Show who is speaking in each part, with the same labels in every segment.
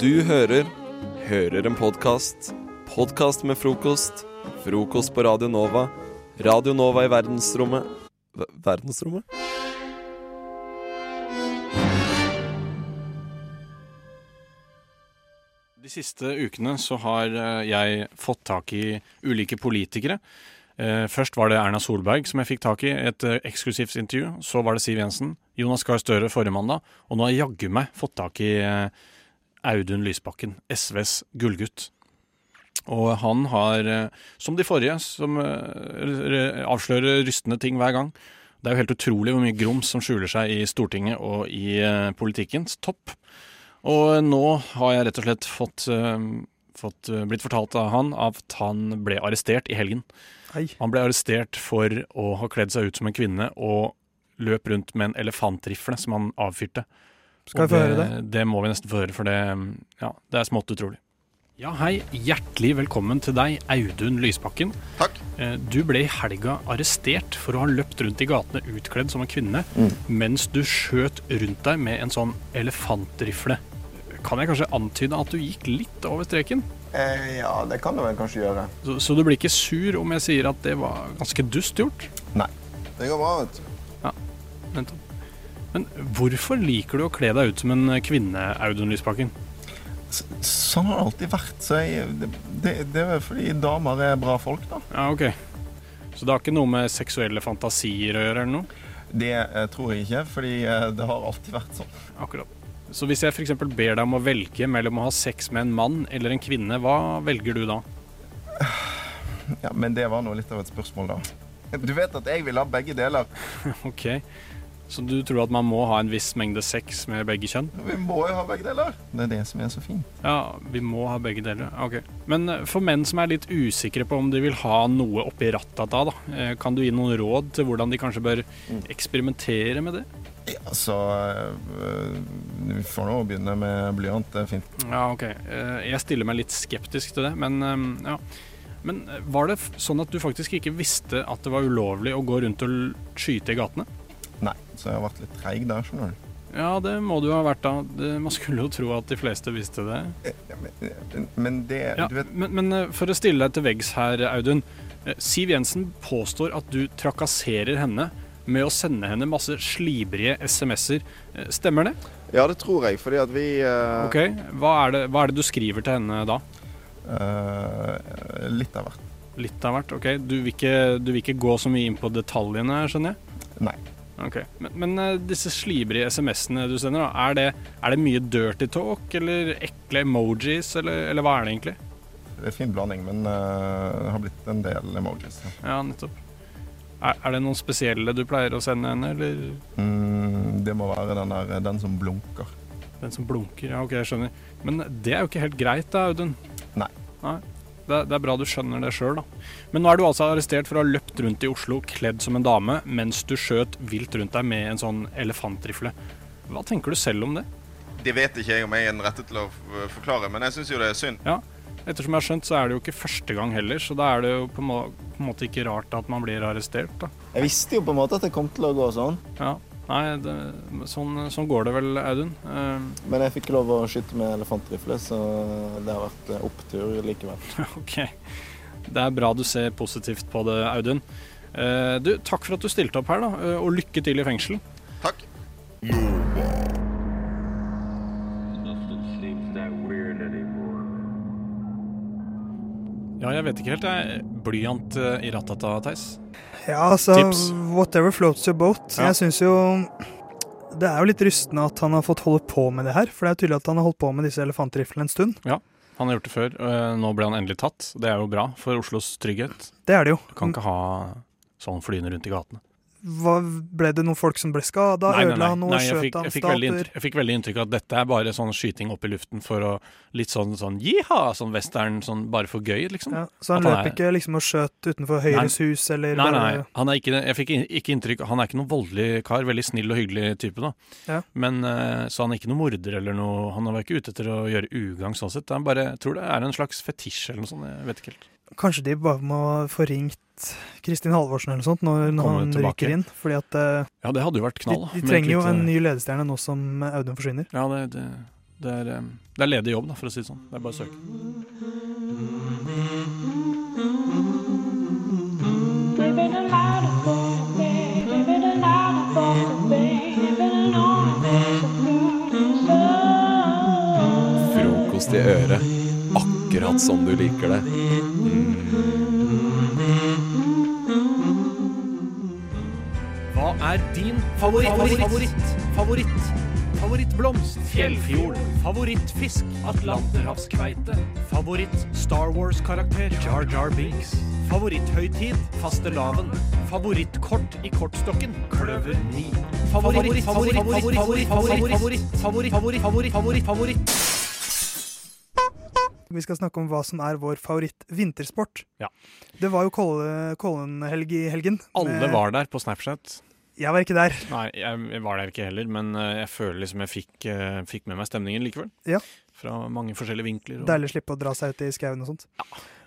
Speaker 1: Du hører Hører en podkast. Podkast med frokost. Frokost på Radio Nova. Radio Nova i verdensrommet Ver- Verdensrommet?
Speaker 2: De siste ukene så har eh, jeg fått tak i ulike politikere. Eh, Først var det Erna Solberg som jeg fikk tak i, et eh, eksklusivt intervju. Så var det Siv Jensen, Jonas Gahr Støre forrige mandag, og nå har jeg jaggu meg fått tak i eh, Audun Lysbakken, SVs gullgutt. Og han har, eh, som de forrige, som eh, r- r- avslører rystende ting hver gang. Det er jo helt utrolig hvor mye grums som skjuler seg i Stortinget og i eh, politikkens topp. Og eh, nå har jeg rett og slett fått, eh, fått eh, blitt fortalt av han at han ble arrestert i helgen. Han ble arrestert for å ha kledd seg ut som en kvinne og løp rundt med en elefantrifle som han avfyrte.
Speaker 3: Skal
Speaker 2: Og
Speaker 3: vi få høre
Speaker 2: det? Det må vi nesten få høre, for det, ja, det er smått utrolig. Ja, hei. Hjertelig velkommen til deg, Audun Lysbakken.
Speaker 4: Takk.
Speaker 2: Eh, Du ble i helga arrestert for å ha løpt rundt i gatene utkledd som en kvinne, mens du skjøt rundt deg med en sånn elefantrifle. Kan jeg kanskje antyde at du gikk litt over streken?
Speaker 4: Eh, ja, det kan du vel kanskje gjøre.
Speaker 2: Så, så du blir ikke sur om jeg sier at det var ganske dust gjort?
Speaker 4: Det går bra, vet du.
Speaker 2: Nettopp. Men hvorfor liker du å kle deg ut som en eh, kvinne, Audun Lysbakken?
Speaker 4: Sånn har det alltid vært. Så jeg, det, det, det er vel fordi damer er bra folk, da.
Speaker 2: Ja, ok. Så det har ikke noe med seksuelle fantasier å gjøre eller noe?
Speaker 4: Det eh, tror jeg ikke, fordi eh, det har alltid vært sånn.
Speaker 2: Akkurat. Så hvis jeg f.eks. ber deg om å velge mellom å ha sex med en mann eller en kvinne, hva velger du da?
Speaker 4: Ja, Men det var nå litt av et spørsmål, da. Du vet at jeg vil ha begge deler.
Speaker 2: Ok. Så du tror at man må ha en viss mengde sex med begge kjønn?
Speaker 4: Vi må jo ha begge deler. Det er det som er så fint.
Speaker 2: Ja, vi må ha begge deler. Ok. Men eh, for menn som er litt usikre på om de vil ha noe oppi rattet da, da, eh, kan du gi noen råd til hvordan de kanskje bør eksperimentere med det?
Speaker 4: Mm. Ja, altså- så eh, Vi får nå begynne med blyant. Det er fint.
Speaker 2: Ja, ok. Eh, Jeg stiller meg litt skeptisk til det, men eh, ja. Men eh, var det f- sånn at du faktisk ikke visste at det var ulovlig å gå rundt og l- skyte i gatene?
Speaker 4: Nei, så jeg har vært litt treig der, skjønner du.
Speaker 2: Ja, det må du ha vært da. Det- Man skulle jo tro at de fleste visste det.
Speaker 4: Eh, Ja, men, men det
Speaker 2: Ja,
Speaker 4: Du vet
Speaker 2: men, men eh, for å stille deg til veggs her, Audun. eh, Siv Jensen påstår at du trakasserer henne med å sende henne masse slibrige SMS-er. Eh, Stemmer det?
Speaker 5: Ja, det tror jeg, fordi at vi eh,
Speaker 2: Ok, hva er det, hva er det du skriver til henne da?
Speaker 4: eh, Litt av hvert.
Speaker 2: Litt av hvert, ok. Du vil ikke, du vil ikke gå så mye inn på detaljene, skjønner jeg?
Speaker 4: Nei.
Speaker 2: Ok, Men, men eh, disse slibrige SMS-ene du sender, da, er det, er det mye dirty talk, eller ekle emojis, eller, eller hva er det egentlig?
Speaker 4: Det er fin blanding, men eh, det har blitt en del emojis. ja.
Speaker 2: Ja, nettopp. Er, er det noen spesielle du pleier å sende henne, eller
Speaker 4: Mm, det må være den, der, den som blunker.
Speaker 2: den som blunker? Ja, ok, jeg skjønner. Men det er jo ikke helt greit da, Audun.
Speaker 4: Nei.
Speaker 2: Nei. Det, er- det er bra du skjønner det sjøl, da. Men nå er du altså arrestert for å ha løpt rundt i Oslo kledd som en dame mens du skjøt vilt rundt deg med en sånn elefantrifle. Hva tenker du selv om det?
Speaker 5: Det vet ikke jeg om jeg er den rette til å f- forklare, men jeg syns jo det er synd.
Speaker 2: Ja, ettersom jeg har skjønt, så er det jo ikke første gang heller, så da er det jo på en, må på en måte ikke rart at man blir arrestert, da.
Speaker 6: Jeg visste jo på en måte at det kom til å gå sånn,
Speaker 2: Ja. Nei, det, sånn, sånn går det vel, Audun. Eh,
Speaker 6: men jeg fikk lov å skyte med elefantrifle, så det har vært eh, opptur likevel.
Speaker 2: Ok. Det er bra du ser positivt på det, Audun. Eh, Du, takk for at du stilte opp her, da, eh, og lykke til i fengsel.
Speaker 5: Takk.
Speaker 2: Ja, jeg vet ikke helt. Jeg blyant eh, i ratata, Theis.
Speaker 3: Ja, altså,
Speaker 2: Tips.
Speaker 3: whatever floats your boat.
Speaker 2: Ja.
Speaker 3: Jeg syns jo det er jo litt rystende at han har fått holde på med det her. For det er tydelig at han har holdt på med disse elefantriflene en stund.
Speaker 2: Han har gjort det før. eh, Nå ble han endelig tatt. Det er jo bra for Oslos trygghet.
Speaker 3: Det er det jo.
Speaker 2: Du kan ikke ha sånn flyende rundt i gatene.
Speaker 3: Hva, ble det noen folk som ble skada? Ødela han noe?
Speaker 2: Nei, jeg, fikk,
Speaker 3: Skjøt han
Speaker 2: jeg, fikk veldig
Speaker 3: stater?
Speaker 2: inntrykk, jeg fikk veldig inntrykk av at dette er bare sånn skyting opp i luften for å Litt sånn sånn jiha, sånn western, sånn bare for gøy, liksom.
Speaker 3: Ja, så han
Speaker 2: At han
Speaker 3: løp
Speaker 2: er-
Speaker 3: ikke liksom og skjøt utenfor Høyres hus, eller
Speaker 2: Nei,
Speaker 3: bare-
Speaker 2: nei, han er ikke, jeg fikk in- ikke inntrykk Han er ikke noen voldelig kar, veldig snill og hyggelig type da
Speaker 3: Ja.
Speaker 2: Men, eh, Så han er ikke noen morder eller noe Han var ikke ute etter å gjøre ugang sånn sett Han bare, jeg tror det er en slags fetisj eller noe sånt Jeg vet ikke helt
Speaker 3: Kanskje de bare må få ringt Kristin Halvorsen eller noe sånt når, når
Speaker 2: Kommer
Speaker 3: han
Speaker 2: tilbake.
Speaker 3: ryker inn. Fordi at eh,
Speaker 2: Ja, det hadde jo vært knall eh,
Speaker 3: de, de trenger jo en ny ledestjerne nå som Audun forsvinner.
Speaker 2: Ja, det, det, Det er, eh, det er ledig jobb, da, for å si det sånn. Det er bare å søke.
Speaker 7: Living a life of pain, living a life of pain, living on a sun.
Speaker 1: Frokost i øret, akkurat som du liker det. Mm,
Speaker 2: Hva er din favoritt? Favoritt? Favoritt? favoritt Favorittblomst? Fjellfjord? Favorittfisk? Atlanterhavskveite? Favoritt Star Wars-karakter? Jar Jar Binks? Favoritthøytid? Fastelavn? Favorittkort i kortstokken? Kløver 9. Favoritt, favoritt, favoritt, favoritt, favoritt, favoritt, favoritt, favoritt, favoritt, favoritt, favoritt.
Speaker 3: Vi skal snakke om hva som er vår favoritt-vintersport.
Speaker 2: Ja.
Speaker 3: Det var jo Kolle- Kollen-helg i helgen.
Speaker 2: Alle
Speaker 3: Eh,
Speaker 2: var der på Snapchat.
Speaker 3: Jeg var ikke der.
Speaker 2: Nei, jeg jeg var der ikke heller, men eh, jeg føler liksom jeg fikk, eh, fikk med meg stemningen likevel.
Speaker 3: Ja.
Speaker 2: Fra mange forskjellige vinkler. og-
Speaker 3: Deilig å slippe å dra seg ut i skauen og sånt.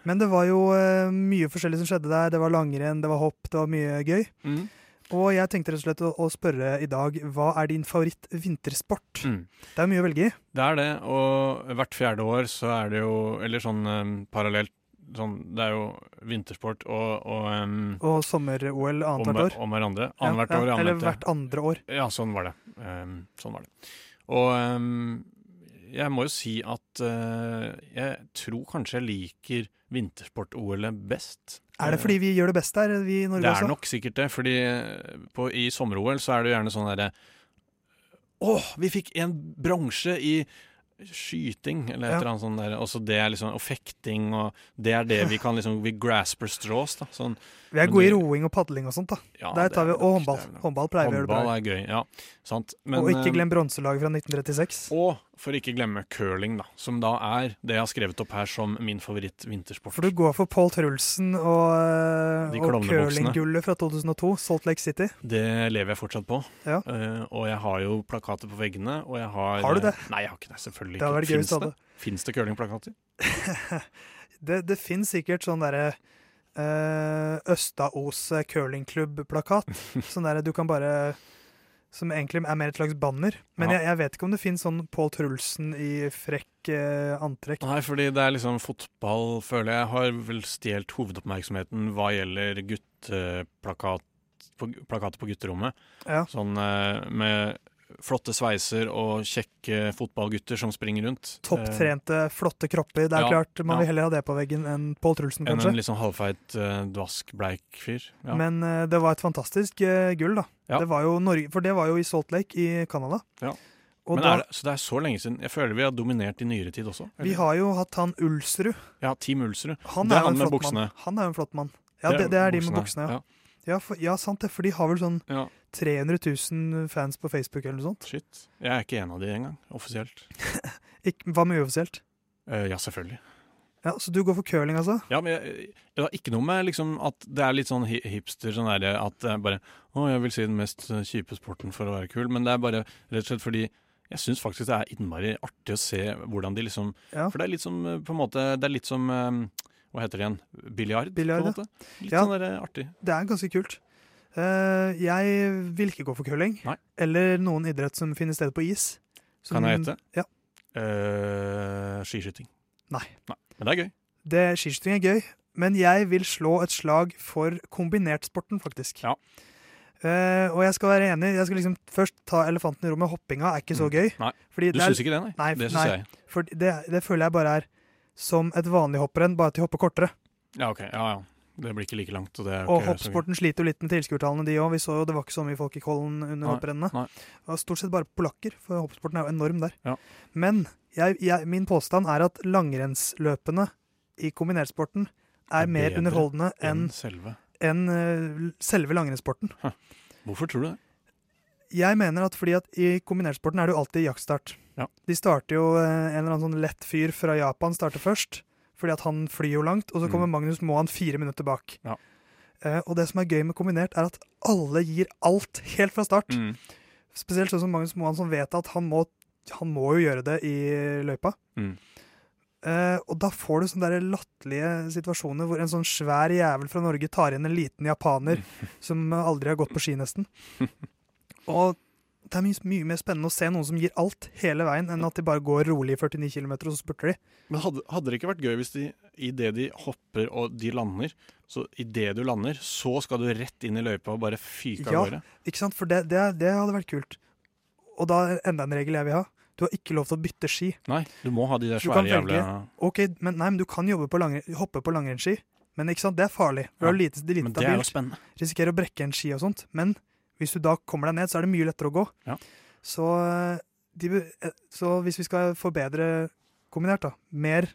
Speaker 3: Men det var jo eh, mye forskjellig som skjedde der. Det var langrenn, det var hopp, det var mye gøy.
Speaker 2: Mm.
Speaker 3: Og jeg tenkte rett og slett å, å spørre i dag hva er din favoritt-vintersport?
Speaker 2: Mm.
Speaker 3: Det er mye å velge i.
Speaker 2: Det er det, og hvert fjerde år så er det jo Eller sånn eh, parallelt sånn, Det er jo vintersport og, og eh,
Speaker 3: Og sommer-OL
Speaker 2: om,
Speaker 3: annethvert år.
Speaker 2: om hverandre. Annethvert
Speaker 3: Ja,
Speaker 2: år.
Speaker 3: ja, Eller
Speaker 2: Annet,
Speaker 3: hvert andre år.
Speaker 2: Ja, sånn var det. Eh, sånn var det. Og eh, jeg må jo si at eh, jeg tror kanskje jeg liker vintersport-OL-et best.
Speaker 3: Er det fordi vi gjør det best der, vi i Norge
Speaker 2: Eh, Det er
Speaker 3: også?
Speaker 2: nok sikkert det, fordi eh, på, i sommer-OL så er det jo gjerne sånn derre Åh, vi fikk en bronse i skyting, eller et
Speaker 3: Ja.
Speaker 2: eller annet sånt der. Og så det er liksom, og fekting, og det er det vi kan liksom Vi grasper straws, da. Sånn,
Speaker 3: Vi er
Speaker 2: men
Speaker 3: gode i
Speaker 2: det-
Speaker 3: roing og padling og sånt, da.
Speaker 2: ja,
Speaker 3: Der
Speaker 2: det
Speaker 3: tar vi,
Speaker 2: er nok-
Speaker 3: Og håndball.
Speaker 2: det er nok-
Speaker 3: Håndball pleier vi å gjøre bra.
Speaker 2: Håndball er gøy, ja. Sant. Men,
Speaker 3: Og ikke
Speaker 2: eh,
Speaker 3: glem bronselaget fra 1936.
Speaker 2: Og for ikke glemme curling, da. Som da er det jeg har skrevet opp her som min favoritt-vintersport.
Speaker 3: For du går for Paul Trulsen og,
Speaker 2: De
Speaker 3: og
Speaker 2: klovnebuksene.
Speaker 3: curlinggullet fra 2002, Salt Lake City.
Speaker 2: Det lever jeg fortsatt på.
Speaker 3: Ja.
Speaker 2: Eh, og jeg har jo plakater på veggene. Og jeg har, eh,
Speaker 3: Har du det?
Speaker 2: Nei, jeg har ikke det. Selvfølgelig
Speaker 3: Det hadde vært gøy
Speaker 2: ikke.
Speaker 3: hvis
Speaker 2: Fins
Speaker 3: du
Speaker 2: det? Finnes det curlingplakater?
Speaker 3: Det, det finnes sikkert sånn derre eh, Østaos curlingklubb-plakat. Sånn derre du kan bare Som egentlig er mer et slags banner. Men
Speaker 2: Ja.
Speaker 3: jeg, jeg vet ikke om det finnes sånn Paul Trulsen i frekk eh, antrekk.
Speaker 2: Nei, fordi det er liksom fotball, føler jeg, har vel stjålet hovedoppmerksomheten hva gjelder gutteplakat på, plakater på gutterommet.
Speaker 3: Ja.
Speaker 2: Sånn eh, med flotte sveiser og kjekke fotballgutter som springer rundt. Eh,
Speaker 3: Topptrente, flotte kropper. Det er
Speaker 2: ja,
Speaker 3: klart man
Speaker 2: ja.
Speaker 3: vil heller ha det på veggen enn Paul Trulsen,
Speaker 2: enn
Speaker 3: kanskje.
Speaker 2: en litt sånn halvfeit, eh, dvask, bleik fyr. Ja.
Speaker 3: Men eh, det var et fantastisk eh, gull, da.
Speaker 2: Ja.
Speaker 3: Det var jo Norge, for det var jo i Salt Lake i Canada.
Speaker 2: Ja.
Speaker 3: Og
Speaker 2: Men
Speaker 3: da,
Speaker 2: er det, så det er så lenge siden. Jeg føler vi har dominert i nyere tid også.
Speaker 3: vi har jo hatt han Ulsrud.
Speaker 2: Ja, Team Ulsrud.
Speaker 3: Han
Speaker 2: Det er
Speaker 3: jo en
Speaker 2: han med
Speaker 3: flott mann.
Speaker 2: buksene.
Speaker 3: Han er jo en flott mann. Ja, det, det er de med buksene. Ja,
Speaker 2: ja.
Speaker 3: ja, for, ja sant det, for de har vel sånn
Speaker 2: Ja.
Speaker 3: 300 000 fans på Facebook eller noe sånt.
Speaker 2: Shit. Jeg er ikke en av de engang, offisielt.
Speaker 3: Ikke, hva med uoffisielt?
Speaker 2: Eh, ja, selvfølgelig.
Speaker 3: Ja, Så du går for curling, altså?
Speaker 2: Ja, men jeg, Det har ikke noe med liksom at det er litt sånn hi- hipster sånn der, at det er bare Å, jeg vil si den mest eh, kjipe sporten for å være kul, men det er bare rett og slett fordi jeg syns faktisk det er innmari artig å se hvordan de liksom
Speaker 3: Ja.
Speaker 2: For det er litt som eh, på en måte Det er litt som eh, Hva heter det igjen? Biljard? på en
Speaker 3: Biljard, ja.
Speaker 2: måte. Litt
Speaker 3: Ja.
Speaker 2: sånn der eh, artig.
Speaker 3: Det er ganske kult. Eh, jeg vil ikke gå for curling.
Speaker 2: Nei.
Speaker 3: Eller noen idrett som finner sted på is. Som-
Speaker 2: Kan jeg gjette?
Speaker 3: Ja.
Speaker 2: Eh, skiskyting.
Speaker 3: Nei.
Speaker 2: Men det er gøy.
Speaker 3: Det, skiskyting er gøy, men jeg vil slå et slag for kombinertsporten, faktisk.
Speaker 2: Ja.
Speaker 3: Eh, og jeg skal være enig. Jeg skal liksom først ta elefanten i rommet. Hoppinga er ikke så
Speaker 2: Mm.
Speaker 3: gøy.
Speaker 2: Nei.
Speaker 3: Fordi
Speaker 2: Du
Speaker 3: det,
Speaker 2: syns
Speaker 3: er,
Speaker 2: ikke det, nei?
Speaker 3: Nei,
Speaker 2: det
Speaker 3: nei.
Speaker 2: syns jeg.
Speaker 3: for det, det føler jeg bare er som et vanlig hopprenn, bare at de hopper kortere.
Speaker 2: Ja, ok. Ja, ja. Det blir ikke like langt. Og, det er jo
Speaker 3: Og
Speaker 2: ikke så gøy.
Speaker 3: hoppsporten sliter jo litt med tilskuertallene, de òg. Vi så jo det var ikke så mye folk i Kollen under
Speaker 2: Nei,
Speaker 3: hopprennene.
Speaker 2: nei.
Speaker 3: Det var stort sett bare polakker, for hoppsporten er jo enorm der.
Speaker 2: Ja.
Speaker 3: Men jeg, jeg, min påstand er at langrennsløpene i kombinertsporten
Speaker 2: Er
Speaker 3: er mer
Speaker 2: bedre
Speaker 3: underholdende enn
Speaker 2: enn selve.
Speaker 3: enn eh, selve langrennssporten.
Speaker 2: Hvorfor tror du det?
Speaker 3: Jeg mener at fordi at i kombinertsporten er det jo alltid jaktstart.
Speaker 2: Ja.
Speaker 3: De starter jo eh, en eller annen sånn lett fyr fra Japan starter først, fordi at han flyr jo langt, og så kommer
Speaker 2: Mm.
Speaker 3: Magnus Moan fire minutter bak.
Speaker 2: Ja.
Speaker 3: Eh, og det som er gøy med kombinert, er at alle gir alt helt fra start.
Speaker 2: Mm.
Speaker 3: Spesielt sånn som Magnus Moan, som vet at han må, han må jo gjøre det i løypa.
Speaker 2: Mm.
Speaker 3: Eh, og da får du sånne der latterlige situasjoner hvor en sånn svær jævel fra Norge tar inn en liten japaner som aldri har gått på ski, nesten. Og det er mye, mye mer spennende å se noen som gir alt hele veien, enn at de bare går rolig i 49 km og så spurter de.
Speaker 2: Men hadde, hadde det ikke vært gøy hvis de idet de hopper og de lander, så idet du lander, så skal du rett inn i løypa og bare fyke av
Speaker 3: Ja.
Speaker 2: gårde?
Speaker 3: Ikke sant? For det, det, det hadde vært kult. Og da er enda en regel jeg vil ha. Du har ikke lov til å bytte ski.
Speaker 2: Nei, du må ha de der
Speaker 3: Du kan
Speaker 2: svære jævla
Speaker 3: Ok, men, nei, men du kan jobbe på langre, hoppe på langrennsski, men ikke sant? det er farlig. For
Speaker 2: Ja,
Speaker 3: det er lite, det er lite
Speaker 2: Men det er jo
Speaker 3: stabilt.
Speaker 2: spennende.
Speaker 3: Risikerer å brekke en ski og sånt. Men hvis du da kommer deg ned, så er det mye lettere å gå.
Speaker 2: Ja.
Speaker 3: Så, eh, de, bu- eh, så hvis vi skal forbedre kombinert, da. Mer,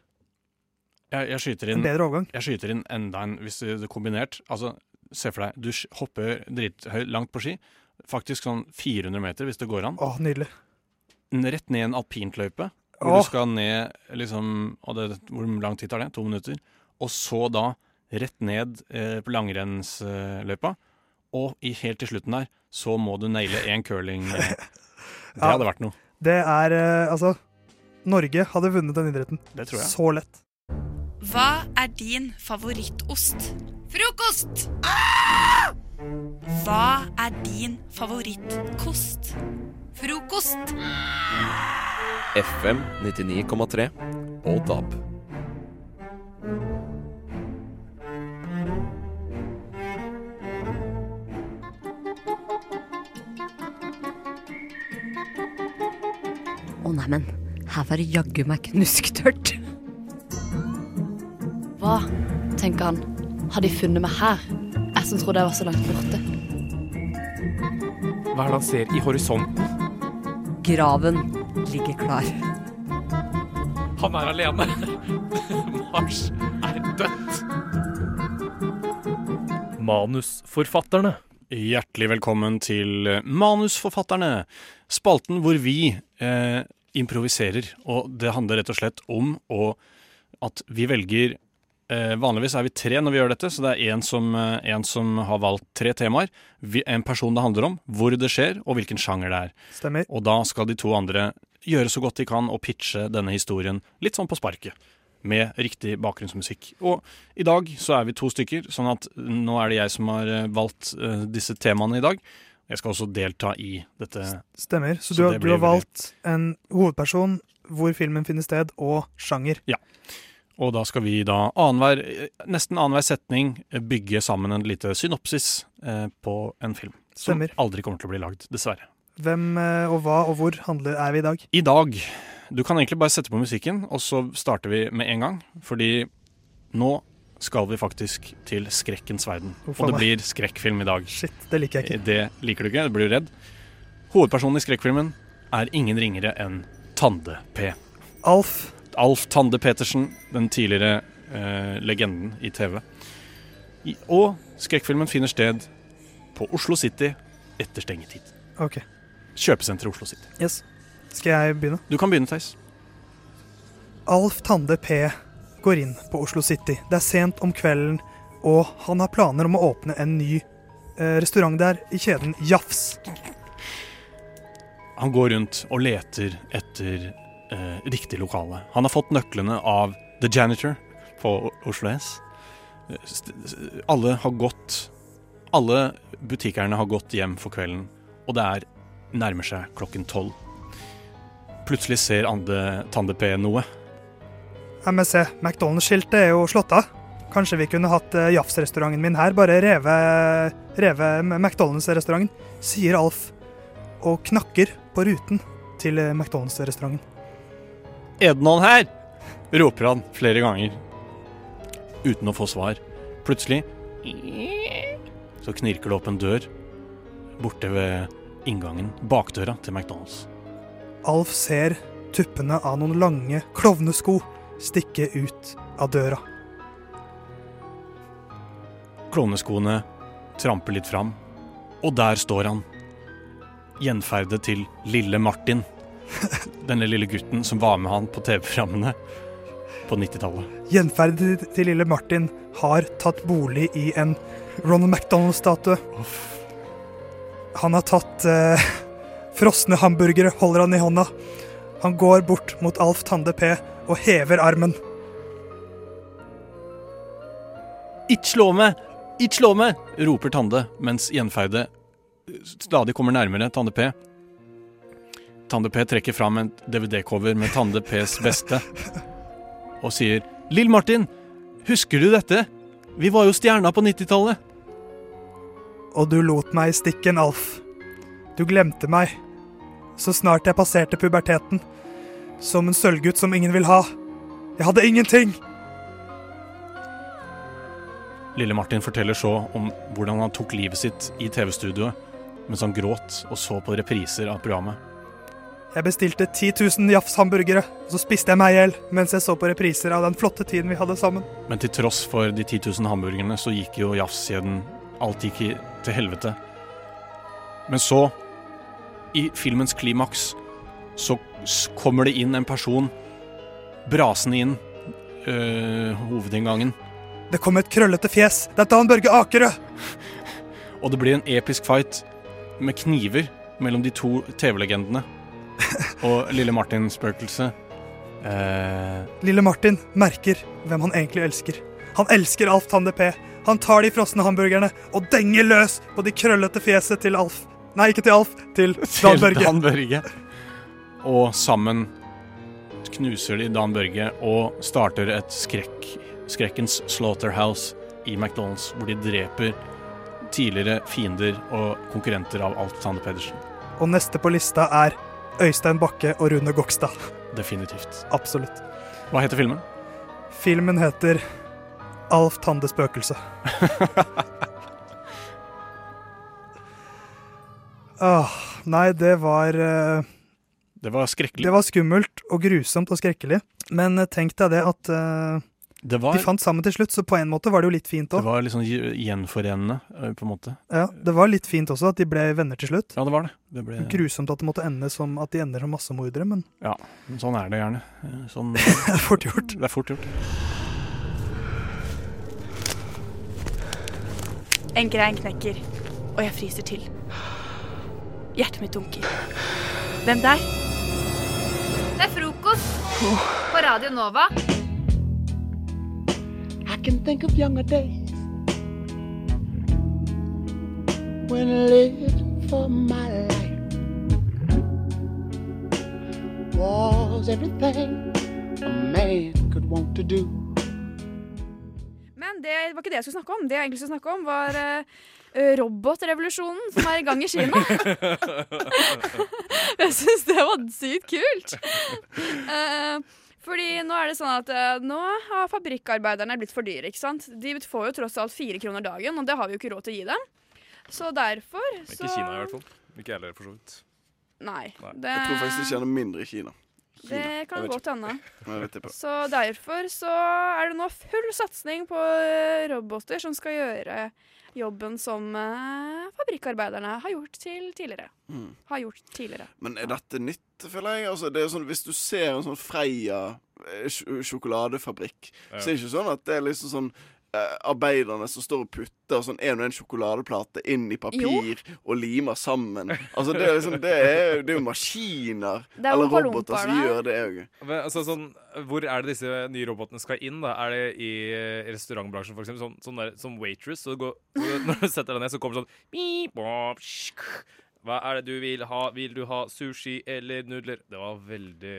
Speaker 2: Jeg, jeg, skyter
Speaker 3: en
Speaker 2: inn,
Speaker 3: bedre overgang.
Speaker 2: jeg skyter inn enda en hvis det er kombinert. Altså, se for deg, du sk- hopper drithøyt langt på ski. Faktisk sånn 400 meter, hvis det går an.
Speaker 3: Å, nydelig.
Speaker 2: Rett ned en alpintløype. Hvor
Speaker 3: Åh.
Speaker 2: du skal ned liksom og det, Hvor lang tid tar det? To minutter. Og så da rett ned eh, på langrennsløypa. Og i, helt til slutten der så må du naile én curling. eh. Det
Speaker 3: Ja.
Speaker 2: hadde vært noe.
Speaker 3: Det er eh, Altså, Norge hadde vunnet den idretten.
Speaker 2: Det tror jeg.
Speaker 3: Så lett.
Speaker 8: Hva er din favorittost? Frokost! Hva er din favorittkost? Frokost.
Speaker 1: FM 99,3 og DAB.
Speaker 9: Å neimen, her var det jaggu meg knusktørt. Hva, tenker han, har de funnet meg her? Jeg som trodde jeg var så langt borte.
Speaker 10: Hva er det han ser i horisonten?
Speaker 9: Graven ligger klar.
Speaker 10: Han er alene. Mars er dødt. Manusforfatterne.
Speaker 2: Hjertelig velkommen til eh, Manusforfatterne. Spalten hvor vi eh, improviserer. Og det handler rett og slett om å, at vi velger eh, Vanligvis er vi tre når vi gjør dette, så det er én som, eh, en som har valgt tre temaer. Vi, en person det handler om, hvor det skjer, og hvilken sjanger det er.
Speaker 3: Stemmer.
Speaker 2: Og da skal de to andre gjøre så godt de kan og pitche denne historien litt sånn på sparket. Med riktig bakgrunnsmusikk. Og i dag så er vi to stykker, sånn at nå er det jeg som har eh, valgt eh, disse temaene i dag. Jeg skal også delta i dette.
Speaker 3: Stemmer. Så,
Speaker 2: Så
Speaker 3: du, har-
Speaker 2: det
Speaker 3: du har
Speaker 2: blir veldig-
Speaker 3: valgt en hovedperson, hvor filmen finner sted, og sjanger.
Speaker 2: Og da skal vi da annenhver, eh, nesten annenhver setning eh, bygge sammen en lite synopsis eh, på en film. Som
Speaker 3: Stemmer.
Speaker 2: aldri kommer til å bli lagd, dessverre.
Speaker 3: Hvem eh, og hva og hvor handler er vi i dag?
Speaker 2: I dag Du kan egentlig bare sette på musikken, og så starter vi med en gang. Fordi nå skal vi faktisk til skrekkens verden.
Speaker 3: Å, faen
Speaker 2: og det
Speaker 3: meg.
Speaker 2: blir skrekkfilm i dag. Eh,
Speaker 3: Shit, det liker jeg ikke.
Speaker 2: Det liker du ikke, du blir jo redd. Hovedpersonen i skrekkfilmen er ingen ringere enn Tande-P.
Speaker 3: Alf.
Speaker 2: Alf Tande Petersen, den tidligere eh, legenden i TV. I, og skrekkfilmen finner sted på Oslo City etter stengetid.
Speaker 3: OK.
Speaker 2: Kjøpesenter Oslo City.
Speaker 3: Yes. Skal jeg begynne?
Speaker 2: Du kan begynne, Theis.
Speaker 3: Alf Tande P går inn på Oslo City. Det er sent om kvelden, og han har planer om å åpne en ny eh, restaurant der i kjeden Jafs.
Speaker 2: Han går rundt og leter etter eh, riktig lokale. Han har fått nøklene av The Janitor på O- Oslo S. Eh, st- s- Alle har gått Alle butikkerne har gått hjem for kvelden, og det er nærmer seg klokken tolv. Plutselig ser Ande Tande P noe.
Speaker 3: MSC, McDonald's-skiltet er jo slått av. Kanskje vi kunne hatt eh, Jafs-restauranten min her, bare reve, reve McDonald's-restauranten, sier Alf, og knakker på ruten til eh, McDonald's-restauranten.
Speaker 2: Er det noen her? roper han flere ganger. Uten å få svar. Plutselig så knirker det opp en dør borte ved inngangen, bakdøra til McDonald's.
Speaker 3: Alf ser tuppene av noen lange klovnesko stikke ut av døra.
Speaker 2: Klovneskoene tramper litt fram, og der står han. Gjenferdet til lille Martin. Denne lille gutten som var med han på TV-programmene på 90-tallet.
Speaker 3: Gjenferdet til- til lille Martin har tatt bolig i en Ronald McDonald-statue. Han har tatt eh, frosne hamburgere, holder han i hånda. Han går bort mot Alf Tande P og hever armen.
Speaker 2: Ikke slå meg! Ikke slå meg! roper Tande, mens gjenferdet stadig kommer nærmere Tande P. Tande P trekker fram en DVD-cover med Tande Ps beste og sier Lill Martin, husker du dette? Vi var jo stjerna på 90-tallet.
Speaker 3: Og du lot meg i stikken, Alf. Du glemte meg. Så snart jeg passerte puberteten. Som en sølvgutt som ingen vil ha. Jeg hadde ingenting!
Speaker 2: Lille Martin forteller så om hvordan han tok livet sitt i TV-studioet mens han gråt og så på repriser av programmet.
Speaker 3: Jeg bestilte 10 000 Jafs hamburgere, og så spiste jeg meg i hjel mens jeg så på repriser av den flotte tiden vi hadde sammen.
Speaker 2: Men til tross for de 10 000 hamburgerne, så gikk jo jafskjeden Alt gikk i- til helvete. Men så, i filmens klimaks, så s- kommer det inn en person brasende inn øh, hovedinngangen.
Speaker 3: Det kom et krøllete fjes. Det er Dan Børge Akerø!
Speaker 2: Og det blir en episk fight med kniver mellom de to TV-legendene og lille Martin-spøkelset. Eh,
Speaker 3: Lille Martin merker hvem han egentlig elsker. Han elsker Alf Tande P. Han tar de frosne hamburgerne og denger løs på de krøllete fjeset til Alf. Nei, ikke til Alf. Til Dan
Speaker 2: til
Speaker 3: Børge.
Speaker 2: Dan Børge. Og sammen knuser de Dan Børge og starter et skrekk, skrekkens slaughterhouse i McDonald's, hvor de dreper tidligere fiender og konkurrenter av Alf Tande Pedersen.
Speaker 3: Og neste på lista er Øystein Bakke og Rune Gokstad.
Speaker 2: Definitivt.
Speaker 3: Absolutt.
Speaker 2: Hva heter filmen?
Speaker 3: Filmen heter Alf Tande Spøkelse. ah, nei, det var eh,
Speaker 2: Det var skrekkelig.
Speaker 3: Det var skummelt og grusomt og skrekkelig. Men eh, tenk deg det at eh,
Speaker 2: Det var-
Speaker 3: de fant sammen til slutt, så på en måte var det jo litt fint
Speaker 2: Det
Speaker 3: òg.
Speaker 2: var litt sånn gj- gjenforenende, eh, på en måte.
Speaker 3: Ja, det var litt fint også at de ble venner til slutt.
Speaker 2: Ja, det var det. Det ble-
Speaker 3: Grusomt at det måtte ende som at de ender som massemordere, men
Speaker 2: Ja, men sånn er det gjerne. Eh, Sånn, det
Speaker 3: er fort gjort.
Speaker 2: Det er fort gjort.
Speaker 11: En grein knekker, og jeg fryser til. Hjertet mitt dunker. Hvem der?
Speaker 12: Det er frokost på Radio Nova.
Speaker 13: I can think of younger days when I lived for my life. Was everything a man could want to do.
Speaker 14: Men det var ikke det jeg skulle snakke om. Det jeg egentlig skulle snakke om, var eh, robotrevolusjonen som er i gang i Kina. jeg syns det var sykt kult. Eh, fordi nå er det sånn at eh, nå har fabrikkarbeiderne blitt for dyre, ikke sant. De får jo tross alt fire kroner dagen, og det har vi jo ikke råd til å gi dem. Så derfor så
Speaker 15: Ikke Kina i hvert fall. Ikke jeg heller, for så vidt.
Speaker 14: Nei. Det,
Speaker 16: Jeg tror faktisk det skjer noe mindre i Kina. Kina.
Speaker 14: det kan
Speaker 16: Jeg vet
Speaker 14: godt
Speaker 16: ikke.
Speaker 14: hende.
Speaker 16: Men jeg vet ikke.
Speaker 14: Så derfor så er det nå full satsing på eh, roboter som skal gjøre jobben som eh, fabrikkarbeiderne har gjort til tidligere.
Speaker 16: Mm.
Speaker 14: Har gjort tidligere.
Speaker 16: Men er dette nytt, føler jeg? Altså, det er sånn, hvis du ser en sånn Freia eh, sj- sjokoladefabrikk,
Speaker 15: Ja.
Speaker 16: så er det ikke sånn at det er liksom sånn eh, Arbeiderne som står og putter sånn en og en sjokoladeplate inn i papir og limer sammen. Altså Det er liksom Det er, det er jo maskiner
Speaker 14: Det er
Speaker 16: eller
Speaker 14: Oompa
Speaker 16: roboter som
Speaker 14: Loompaene.
Speaker 16: gjør det òg.
Speaker 15: Men, altså, sånn, hvor er det disse nye robotene skal inn? da? Er det i eh, restaurantbransjen, f.eks.? Sånn, sånn der- som waitress. Så det går, så når du setter deg ned, så kommer det sånn beep, bop, shk. Hva er det du vil ha? Vil du ha sushi eller nudler? Det var veldig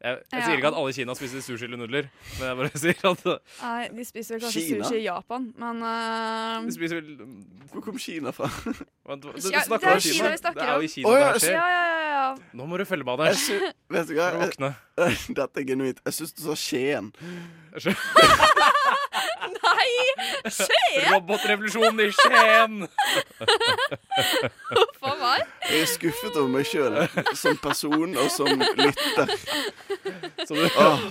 Speaker 15: Jeg, jeg sier ikke at alle i Kina spiser sushi eller nudler, men jeg bare sier at
Speaker 14: Nei, de spiser vel kanskje
Speaker 15: Kina?
Speaker 14: sushi i Japan, men eh,
Speaker 15: de spiser vel
Speaker 16: Hvor kom Kina fra?
Speaker 15: Vent, hva- Du,
Speaker 14: Ja,
Speaker 15: snakker
Speaker 14: det er
Speaker 15: om Kina.
Speaker 14: Kina vi snakker
Speaker 15: det er jo
Speaker 14: om.
Speaker 15: i Kina
Speaker 16: Å, ja,
Speaker 15: det her skjer.
Speaker 14: ja, ja, ja, ja.
Speaker 15: Nå må du følge med, Anders.
Speaker 16: Jeg sy- Vet du hva?
Speaker 15: Våkne.
Speaker 16: Dette er genuint. Jeg syns du sa Skien.
Speaker 14: Nei! Skien!
Speaker 15: Robotrevolusjonen i Skien!
Speaker 14: Hva var?
Speaker 16: Jeg er skuffet over meg sjøl som person og som lytter.
Speaker 15: Så du-
Speaker 16: Åh.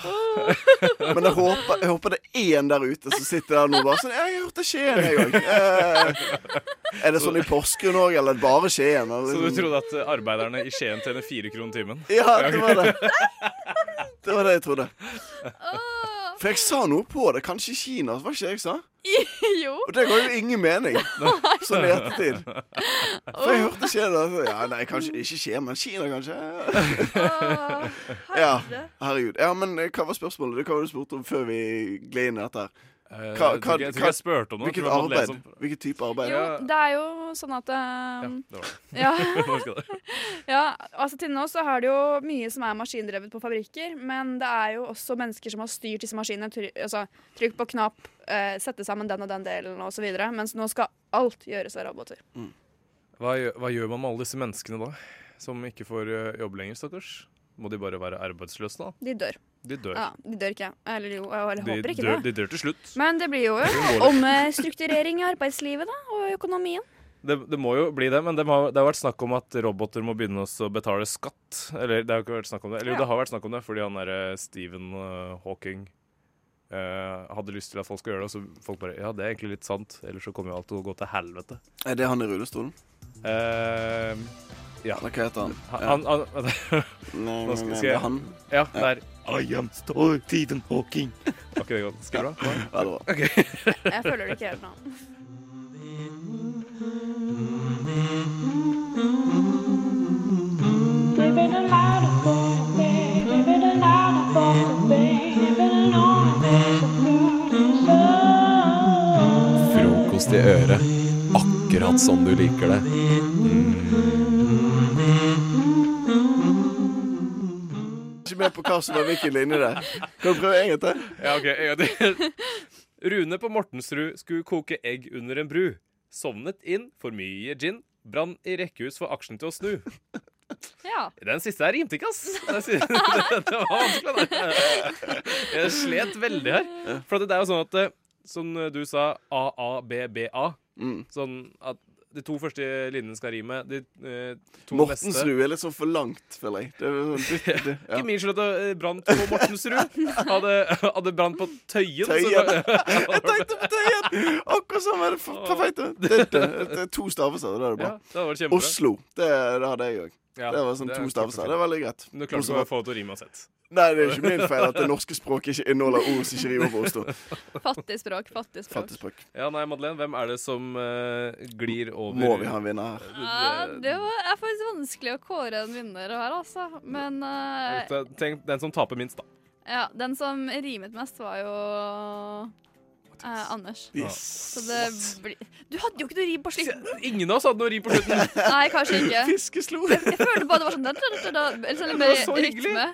Speaker 16: Men jeg håper, jeg håper det er én der ute som sitter der nå og bare sånn Jeg har hørt det Skien, jeg òg. Eh, er det sånn i Porsgrunn òg, eller er det bare Skien? Eller,
Speaker 15: Så du
Speaker 16: liksom?
Speaker 15: trodde at eh, arbeiderne i Skien tjener fire kroner timen?
Speaker 16: Ja, det var det. Det var det jeg trodde. For jeg sa noe på det. Kanskje Kina, var ikke det jeg sa?
Speaker 14: jo.
Speaker 16: Og det ga jo ingen mening, sånn i ettertid. For jeg hørte Skien og så- Ja, nei, kanskje ikke Skien, men Kina, kanskje. Ja, herregud. Ja, men eh, hva var spørsmålet? Det var hva var det du spurte om før vi gled inn i dette her?
Speaker 15: Eh,
Speaker 16: Hva-
Speaker 15: jeg tror ikke- jeg tror ikke jeg spurte om noe. Jeg
Speaker 16: Hvilket
Speaker 15: tror jeg måtte lese
Speaker 16: arbeid?
Speaker 15: om-
Speaker 16: Hvilket type arbeid?
Speaker 14: Jo, det er jo sånn at um, ja. ja, altså Til nå så har det jo mye som er maskindrevet på fabrikker, men det er jo også mennesker som har styrt disse maskinene. Try, altså, trykk på knapp, eh, sette sammen den og den delen osv. Mens nå skal alt gjøres av roboter.
Speaker 15: Mm. Hva, gjø- hva gjør man med alle disse menneskene da? Som ikke får eh, jobb lenger, stakkars? Må de bare være arbeidsløse da?
Speaker 14: De dør.
Speaker 15: De dør.
Speaker 14: Ja, de dør ikke. Eller jo, jeg
Speaker 15: De,
Speaker 14: håper ikke
Speaker 15: dør,
Speaker 14: det.
Speaker 15: de dør til slutt.
Speaker 14: Men det blir jo
Speaker 15: Det
Speaker 14: en
Speaker 15: går litt.
Speaker 14: omstrukturering i arbeidslivet da, og økonomien.
Speaker 15: Det, det må jo bli det, men det, har, det har vært snakk om at roboter må begynne også å betale skatt. Eller det har ikke vært snakk om det. Eller jo,
Speaker 14: Ja.
Speaker 15: det har vært snakk om det, fordi han derre Stephen eh, Hawking eh, hadde lyst til at folk skal gjøre det, og så folk bare Ja, det er egentlig litt sant, ellers så kommer jo alt til å gå til helvete.
Speaker 16: Er det han i rullestolen?
Speaker 15: Eh, ja.
Speaker 16: Eller hva heter han?
Speaker 15: Han, han, han
Speaker 16: Nei,
Speaker 15: Nå skal-
Speaker 16: men
Speaker 15: skal
Speaker 16: det er
Speaker 15: jeg-
Speaker 16: han.
Speaker 15: Ja, der.
Speaker 16: I am Stephen Hawking.
Speaker 15: Var ikke det godt? Skal du ha?
Speaker 16: Ja, det var
Speaker 14: Jeg føler det ikke helt nå.
Speaker 7: Living a lot of boy, living a lot of boy, living alone, it's a blue soul.
Speaker 1: Frokost i øret. Akkurat som du liker det.
Speaker 16: Ikke med på hva som var hvilken linje der. Kan du prøve en gang til?
Speaker 15: Ja, ok. en gang til. Rune på Mortensrud skulle koke egg under en bru. Sovnet inn, for mye gin. Brann i rekkehus for aksjen til å snu.
Speaker 14: Ja.
Speaker 15: Den siste her rimte ikke, ass. Den siste, det var vanskelig. da. Jeg slet veldig her. For det er jo sånn at, eh, som du sa, AABBA. Sånn at de to første linjene skal rime. De eh, to neste
Speaker 16: Mortensrud er litt sånn for langt, føler jeg. Det er sånn dytt- dytt- ja.
Speaker 15: Ikke min skyld at det eh, brant på Mortensrud. Hadde, hadde brant på Tøyen. så
Speaker 16: Tøyen.
Speaker 15: da-
Speaker 16: Jeg tenkte på Tøyen! Akkurat som er det f- perfekt. Det, det, det er to stavelser, det er det bra.
Speaker 15: Ja, det hadde vært kjempebra.
Speaker 16: Oslo. Det, det hadde jeg òg.
Speaker 15: Ja,
Speaker 16: det var sånn
Speaker 15: det er
Speaker 16: to stavelser.
Speaker 15: kjempefint.
Speaker 16: Det er veldig greit.
Speaker 15: Men du klarte
Speaker 16: Bortsett
Speaker 15: ikke å
Speaker 16: fra-
Speaker 15: få det til å rime uansett.
Speaker 16: Nei, det er ikke min feil at det norske språket ikke inneholder ord som ikke rimer på Oslo.
Speaker 14: Fattig språk, fattig språk.
Speaker 15: Ja, nei, Madeleine, hvem er det som eh, glir over
Speaker 16: Må vi ha en vinner her?
Speaker 12: Ja, det var, er faktisk vanskelig å kåre en vinner her, altså. Men eh,
Speaker 15: Tenk- Tenk den som taper minst, da.
Speaker 12: ja, den som rimet mest, var jo eh, Anders.
Speaker 15: Yes.
Speaker 12: Så det blir Du hadde jo ikke noe rim på slutten!
Speaker 15: Ingen av oss hadde noe rim på slutten.
Speaker 12: Nei, kanskje ikke.
Speaker 16: Fiskeslo.
Speaker 12: Jeg, jeg følte bare det var sånn da, da, da, da, eller sånn
Speaker 14: Det
Speaker 12: med
Speaker 14: var så hyggelig.
Speaker 12: rytme.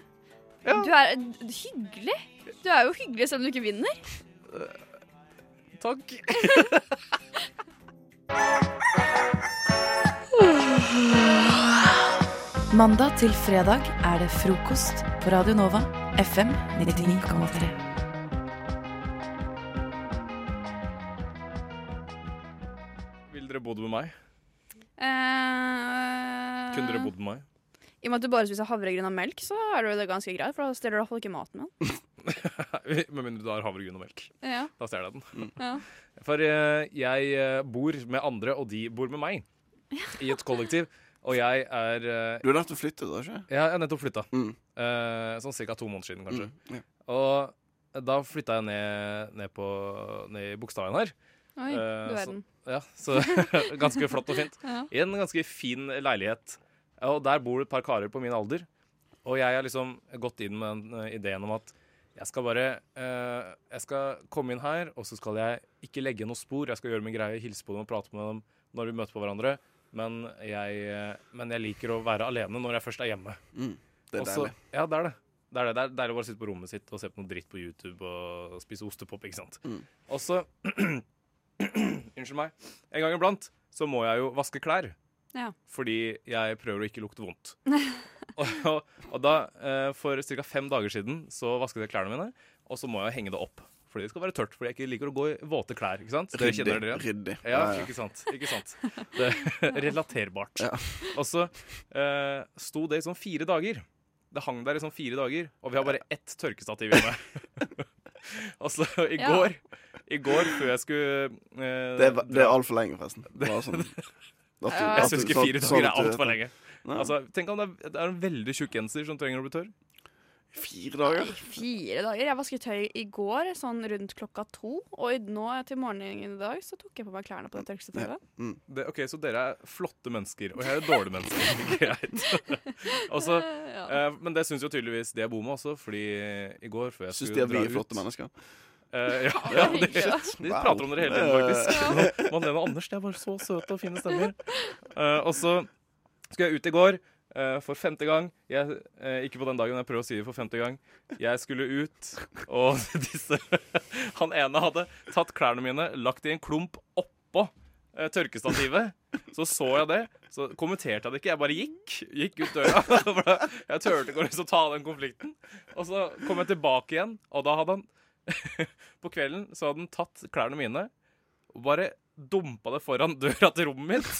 Speaker 12: Du er hyggelig. Du er jo hyggelig selv om du ikke vinner.
Speaker 15: Takk.
Speaker 17: Mandag til fredag er det frokost på Radio Nova, FM 99,3.
Speaker 15: Ville dere bodd med meg?
Speaker 14: Eh,
Speaker 15: Kunne dere bodd med meg?
Speaker 14: I og med at du bare spiser havregryn og melk, så er det jo det ganske greit, for da stjeler du iallfall ikke maten min.
Speaker 15: Med mindre du har havregryn og melk.
Speaker 14: Ja. Mm.
Speaker 15: Da stjeler jeg den.
Speaker 14: Ja.
Speaker 15: For eh, jeg eh, bor med andre, og de bor med meg. I et kollektiv. Og jeg er eh,
Speaker 16: Du har nettopp flyttet, har du ikke?
Speaker 15: Ja, jeg har nettopp flytta. Eh, sånn ca. to måneder siden, kanskje.
Speaker 16: Mm,
Speaker 15: Og da flytta jeg ned, ned, på, ned i Bogstadveien her.
Speaker 14: Oi,
Speaker 15: Eh,
Speaker 14: du
Speaker 15: så-
Speaker 14: verden.
Speaker 15: Ja, så ganske flott og fint.
Speaker 14: Ja.
Speaker 15: I en ganske fin leilighet. Og der bor det et par karer på min alder. Og jeg har liksom gått inn med den eh, ideen om at jeg skal bare eh, Jeg skal komme inn her, og så skal jeg ikke legge noe spor. Jeg skal gjøre min greie, hilse på dem og prate med dem når vi møter på hverandre. Men jeg, eh, men jeg liker å være alene når jeg først er hjemme.
Speaker 16: Mm, det er
Speaker 15: Og så-
Speaker 16: deilig.
Speaker 15: Ja, det er det. Det er det. Det er deilig å bare sitte på rommet sitt og se på noe dritt på YouTube og spise ostepop, ikke sant.
Speaker 16: Mm.
Speaker 15: Og så Unnskyld meg. En gang iblant så må jeg jo vaske klær.
Speaker 14: Ja.
Speaker 15: Fordi jeg prøver å ikke lukte vondt. og, og, og da, eh, for ca. fem dager siden, så vasket jeg klærne mine, og så må jeg henge det opp. Fordi det skal være tørt, fordi jeg ikke liker å gå i våte klær. ikke sant? Dere
Speaker 16: Ryddig,
Speaker 15: kjenner dere?
Speaker 16: ryddig.
Speaker 15: Ja,
Speaker 16: Ja, ja.
Speaker 15: ikke sant. Ikke sant. Det, relaterbart. Og så eh, sto det i sånn fire dager. Det hang der i sånn fire dager, og vi har bare ett tørkestativ hjemme. og så i
Speaker 16: Ja.
Speaker 15: går, i går før jeg skulle eh,
Speaker 16: Det er, det er
Speaker 15: dra-
Speaker 16: altfor lenge, forresten. Bare sånn. At du-
Speaker 15: jeg
Speaker 16: at du-
Speaker 15: syns ikke
Speaker 16: sånn-
Speaker 15: fire
Speaker 16: sånn
Speaker 15: dager er
Speaker 16: at du-
Speaker 15: altfor lenge.
Speaker 16: Nei.
Speaker 15: Altså, tenk om det er, det er en veldig tjukk genser som trenger å bli tørr.
Speaker 16: Fire dager?
Speaker 14: Fire dager. Jeg vasket tøy i går sånn rundt klokka to, og i- nå til morgenen i dag så tok jeg på meg klærne på det tørkestativet.
Speaker 16: mm.
Speaker 15: Det, ok, Så dere er flotte mennesker, og jeg er dårlige mennesker. Greit. Og så, eh, men det syns jo tydeligvis de jeg bor med også, fordi i går før jeg skulle
Speaker 16: Syns de at vi
Speaker 15: dra
Speaker 16: er flotte
Speaker 15: ut-
Speaker 16: mennesker?
Speaker 15: Eh, ja, ja, de, de
Speaker 10: Shit. Wow.
Speaker 15: prater om dere hele tiden, faktisk.
Speaker 10: Ja.
Speaker 15: Malene og Anders, de er bare så søte og fine stemmer. Eh, og så skulle jeg ut i går eh, for femte gang. Jeg, eh, ikke på den dagen, jeg prøver å si det for femte gang. Jeg skulle ut, og disse Han ene hadde tatt klærne mine, lagt i en klump oppå eh, tørkestativet. Så så jeg det, så kommenterte jeg det ikke. Jeg bare gikk. Gikk ut døra. For da- Jeg turte ikke å liksom ta den konflikten. Og så kom jeg tilbake igjen, og da hadde han På kvelden så hadde han tatt klærne mine og bare dumpa det foran døra til rommet mitt.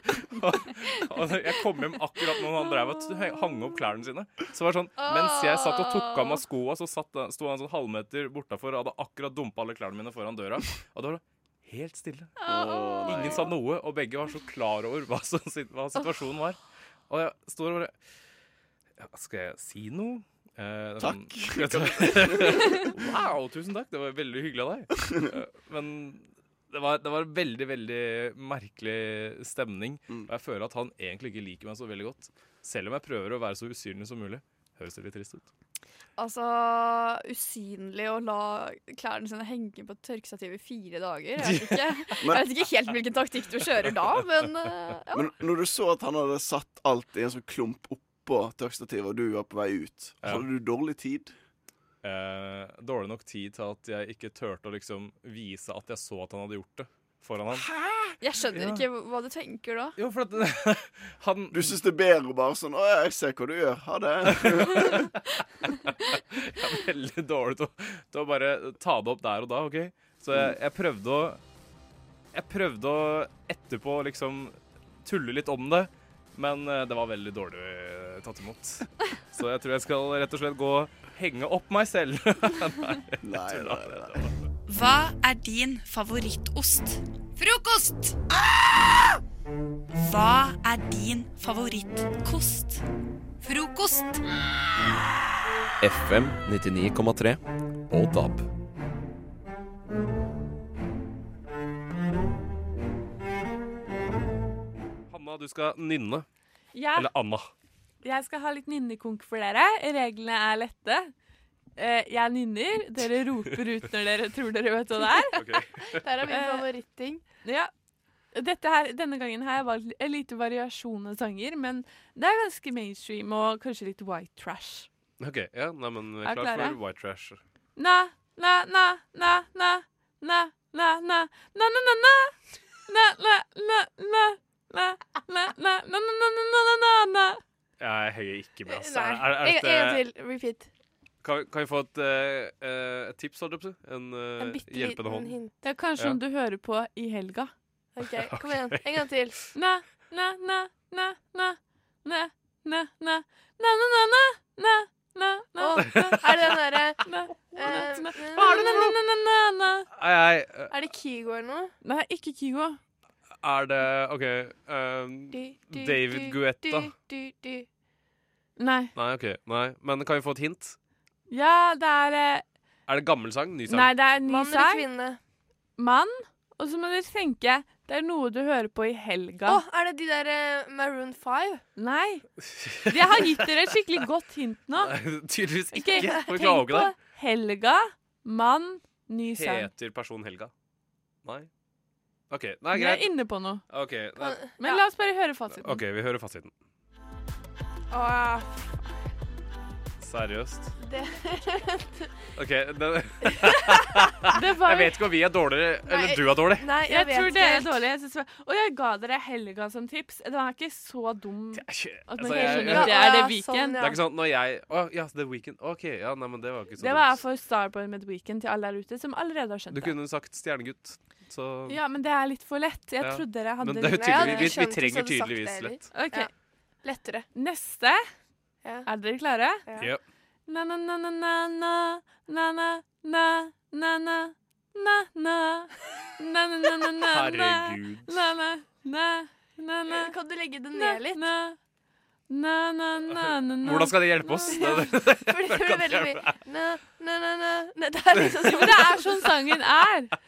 Speaker 15: Og jeg kom hjem akkurat når han drev og t- hang opp klærne sine. Så var det sånn, Mens jeg satt og tok av meg skoa, så satt, han- sto han sånn halvmeter bortafor og hadde akkurat dumpa alle klærne mine foran døra. Og det var helt stille. Ingen sa noe, og begge var så klar over hva, som, sit- hva situasjonen var. Og jeg står og bare ja, Skal jeg si noe? Eh, det er
Speaker 16: Takk.
Speaker 15: sånn- wow, tusen takk. Det var veldig hyggelig av deg. Eh, Men det var, det var veldig, veldig merkelig stemning. Og jeg føler at han egentlig ikke liker meg så veldig godt. Selv om jeg prøver å være så usynlig som mulig. Høres det litt trist ut?
Speaker 14: Altså, usynlig å la klærne sine henge på et tørkestativ i fire dager. Jeg vet, ikke, jeg vet ikke helt hvilken taktikk du kjører da, men eh, ja.
Speaker 16: Men når du så at han hadde satt alt i en sånn klump oppå tørkestativet, og du var på vei ut,
Speaker 15: Ja.
Speaker 16: hadde du dårlig tid?
Speaker 15: Eh, dårlig nok tid til at jeg ikke turte å liksom vise at jeg så at han hadde gjort det foran han.
Speaker 14: Jeg skjønner
Speaker 15: Ja.
Speaker 14: ikke hva du tenker da.
Speaker 15: Jo, for at
Speaker 16: Du syns det er bedre å bare sånn 'Å, jeg ser hva du gjør. Ha det.'
Speaker 15: Jeg er veldig dårlig til å, til å bare ta det opp der og da, OK? Så jeg, jeg prøvde å Jeg prøvde å etterpå liksom tulle litt om det, men eh, det var veldig dårlig eh, tatt imot. Så jeg tror jeg skal rett og slett gå og henge opp meg selv. nei,
Speaker 16: nei, nei,
Speaker 8: Hva er din favorittost? Frokost! Hva er din favorittkost? Frokost!
Speaker 1: FM 99,3 og DAB.
Speaker 15: Hanna, du skal nynne.
Speaker 18: Ja.
Speaker 15: Eller Anna.
Speaker 18: Jeg skal ha litt nynnekonk for dere. Reglene er lette. Eh, Jeg nynner, dere roper ut når dere tror dere vet hva det er.
Speaker 19: Der er min
Speaker 18: Eh,
Speaker 19: favoritting.
Speaker 18: Ja. Dette her, denne gangen har jeg valgt en lite variasjon av sanger, men det er ganske mainstream og kanskje litt white trash.
Speaker 15: OK. Ja, nei, men
Speaker 18: Er
Speaker 15: klar
Speaker 18: klare?
Speaker 15: for White Trash.
Speaker 18: Na, na, na, na, na, na, na, na, na, na, na, na. Na, na, na, na, na, na, na, na, na, na, na, na, na, na.
Speaker 15: Jeg henger ikke med, ass.
Speaker 19: Nei.
Speaker 15: Er- er
Speaker 19: En-
Speaker 15: dette-
Speaker 19: En gang til. Repeat.
Speaker 15: Kan, kan jeg få et, eh, eh, et tips, holdt jeg på å si? En, eh, hjelpende hånd.
Speaker 18: Det er kanskje
Speaker 15: Ja.
Speaker 18: om du hører på i helga.
Speaker 19: OK, kom igjen. En gang til.
Speaker 18: Na, na, na, na, na, na, na, na, na, na, na, na, na, na, na,
Speaker 19: Åh,
Speaker 18: na.
Speaker 19: er det den derre
Speaker 18: Na,
Speaker 19: eh,
Speaker 18: na, Har du na, na, na, na, na, na?
Speaker 15: Nei, nei, eh,
Speaker 19: Er det Kygo eller noe?
Speaker 18: Nei, ikke Kygo.
Speaker 15: Er det OK ehm,
Speaker 19: Du, du,
Speaker 15: David
Speaker 19: du,
Speaker 15: Guetta.
Speaker 19: du, du, du.
Speaker 18: Nei.
Speaker 15: Nei, OK. Nei. Men kan vi få et hint?
Speaker 18: Ja, det er eh,
Speaker 15: Er det gammel sang? Ny sang?
Speaker 18: Nei, det er en ny
Speaker 19: Mann eller
Speaker 18: sang. Mann. Og så må dere tenke Det er noe du hører på i helga.
Speaker 19: Å, er det de der eh, Maroon 5?
Speaker 18: Nei. Jeg har gitt dere et skikkelig godt hint nå.
Speaker 15: Tydeligvis
Speaker 18: Ok,
Speaker 15: ikke. For vi klarer
Speaker 18: tenk
Speaker 15: jo ikke
Speaker 18: på
Speaker 15: det.
Speaker 18: helga, mann, ny sang.
Speaker 15: Heter personen Helga? Nei? OK. Nei,
Speaker 18: Vi er
Speaker 15: greit.
Speaker 18: inne på noe.
Speaker 15: OK, nei.
Speaker 18: Men la oss bare høre fasiten.
Speaker 15: OK, vi hører fasiten.
Speaker 18: Åh,
Speaker 15: Seriøst.
Speaker 19: Det
Speaker 15: OK, den
Speaker 18: var-
Speaker 15: Jeg vet ikke om vi er dårligere, eller du er dårlig.
Speaker 19: jeg
Speaker 18: jeg,
Speaker 19: vet
Speaker 18: tror
Speaker 19: ikke
Speaker 18: dere er
Speaker 19: helt.
Speaker 18: dårlige. Jeg synes det var- og jeg ga dere helga som tips. Den er ikke så dum. At man
Speaker 15: Altså,
Speaker 18: helt
Speaker 15: jeg-
Speaker 18: skjønner
Speaker 15: Ja,
Speaker 18: at det er
Speaker 15: ja,
Speaker 18: The Weeknd.
Speaker 15: Det er ikke sånn når jeg Å ja, The Weekend. OK, ja, nei, men det var ikke så
Speaker 18: Det
Speaker 15: dumt.
Speaker 18: var for Starboy med The Weeknd til alle der ute som allerede har skjønt
Speaker 15: Du
Speaker 18: det.
Speaker 15: kunne sagt Stjernegutt. Så
Speaker 18: Ja, men det er litt for lett. Jeg
Speaker 15: Ja.
Speaker 18: trodde dere hadde
Speaker 15: Men det er jo
Speaker 18: litt-
Speaker 15: tydelig- Nei, jeg vi- vi skjønte trenger ikke så hadde du tydeligvis sagt det lett.
Speaker 18: Ok.
Speaker 19: Ja. Lettere.
Speaker 18: Neste. Er dere klare?
Speaker 15: Ja.
Speaker 18: Na, na, na, na, na, na, na, na, na, na, na, na, na, na, na, na, na, na,
Speaker 19: Herregud.
Speaker 18: na, na, na, na, na,
Speaker 19: Kan du legge det
Speaker 18: na,
Speaker 19: ned litt?
Speaker 18: na, na, na, na, na, na.
Speaker 15: Hvordan skal det hjelpe oss? Det- det-
Speaker 19: Fordi det blir veldig mye na, na, na, na. Nei, Det er liksom
Speaker 18: Jo, men det er sånn sangen er.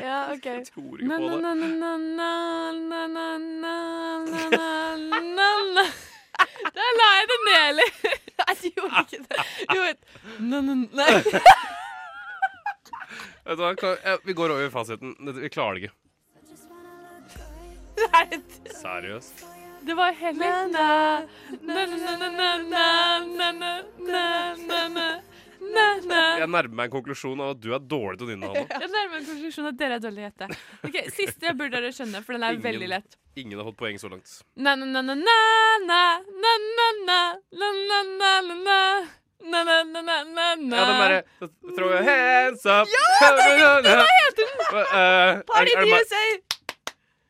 Speaker 19: Ja, OK.
Speaker 15: Tror
Speaker 18: Na, na, na, na, na, na, na, na, na, na, na, na. Der la jeg det ned litt. Nei, du gjorde ikke det. Jo, vent. Na, na, nei.
Speaker 15: Vet du hva, kan- ja, Vi går over i fasiten. Dette- Vi klarer det ikke.
Speaker 18: Nei,
Speaker 15: Seriøst.
Speaker 18: det var heller na na na na na na na na na na na na
Speaker 15: Jeg nærmer meg en konklusjon av at du er dårlig til å nynne. Hanna.
Speaker 18: Jeg nærmer meg konklusjonen at dere er dårlige i dette. Ok, Siste jeg burde dere skjønne, for den er
Speaker 15: Ingen-
Speaker 18: veldig lett.
Speaker 15: Ingen har fått poeng så langt.
Speaker 18: Na na na na na na na na na na na na na na na na na na na na
Speaker 15: Ja, den derre Throw your hands up
Speaker 18: Ja, det er riktig! Hva heter den?
Speaker 15: Eh, er- er
Speaker 18: Party
Speaker 15: det
Speaker 18: in the
Speaker 15: meg-
Speaker 18: USA!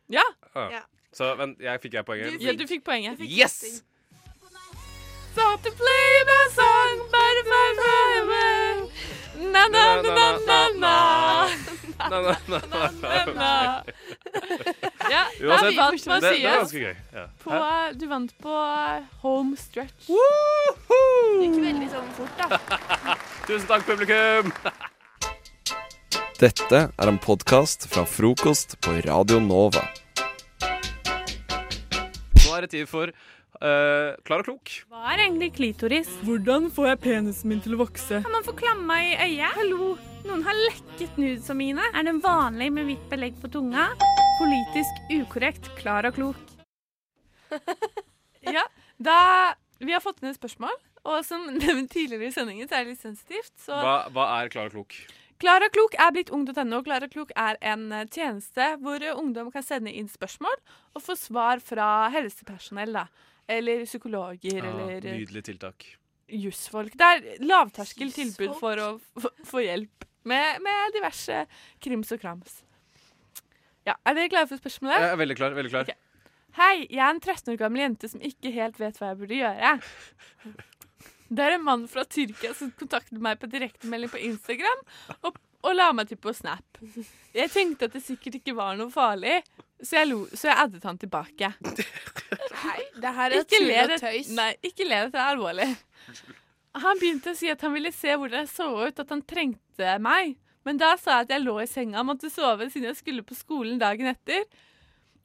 Speaker 18: Ja.
Speaker 15: Ah. Så, men jeg fikk jeg poenget?
Speaker 18: ja, du fikk poenget.
Speaker 15: Yes!
Speaker 18: Stop to play my song, butterfly forever. Na na na na na na.
Speaker 15: Na, na, na, na, na,
Speaker 18: na. Ja, da
Speaker 15: Uansett, det,
Speaker 18: vant
Speaker 15: det var
Speaker 18: Mathias
Speaker 15: ganske gøy. Ja.
Speaker 18: på, du vant på eh, home stretch.
Speaker 15: Det
Speaker 18: gikk veldig sånn fort, da.
Speaker 15: Tusen takk, publikum!
Speaker 1: Dette er en podkast fra frokost på Radio Nova.
Speaker 15: Nå er det tid for eh, Klar og klok.
Speaker 11: Hva er egentlig klitoris?
Speaker 18: Hvordan får jeg penisen min til å vokse?
Speaker 11: Kan man få klamma i øyet? Hallo, noen har lekket nudes av mine. Er den vanlig med hvitt belegg på tunga? Politisk ukorrekt, klar og klok.
Speaker 18: Ja, da Vi har fått inn et spørsmål, og som nevnt tidligere i sendingen, så er det litt sensitivt. Så
Speaker 15: Hva, hva er Klar og klok?
Speaker 18: Klara Klok er blitt ung.no. og Klara Klok er en eh, tjeneste hvor eh, ungdom kan sende inn spørsmål og få svar fra helsepersonell, da. Eller psykologer,
Speaker 15: Ah,
Speaker 18: eller eh,
Speaker 15: nydelig tiltak.
Speaker 18: jusfolk. Det er lavterskel tilbud for å f- få hjelp med, med diverse krims og krams. Ja, Er dere klare for spørsmålet?
Speaker 15: Jeg er veldig klar. veldig klar.
Speaker 18: Hei, jeg er en 13 år gammel jente som ikke helt vet hva jeg burde gjøre. Det er en mann fra Tyrkia som kontaktet meg på direktemelding på Instagram og, og la meg til på Snap. Jeg tenkte at det sikkert ikke var noe farlig, så jeg, lo, så jeg addet han tilbake. Nei, det
Speaker 19: her er tull og tøys.
Speaker 18: Nei, ikke le, dette er alvorlig. Han begynte å si at han ville se hvordan jeg så ut, at han trengte meg. Men da sa jeg at jeg lå i senga og måtte sove siden jeg skulle på skolen dagen etter.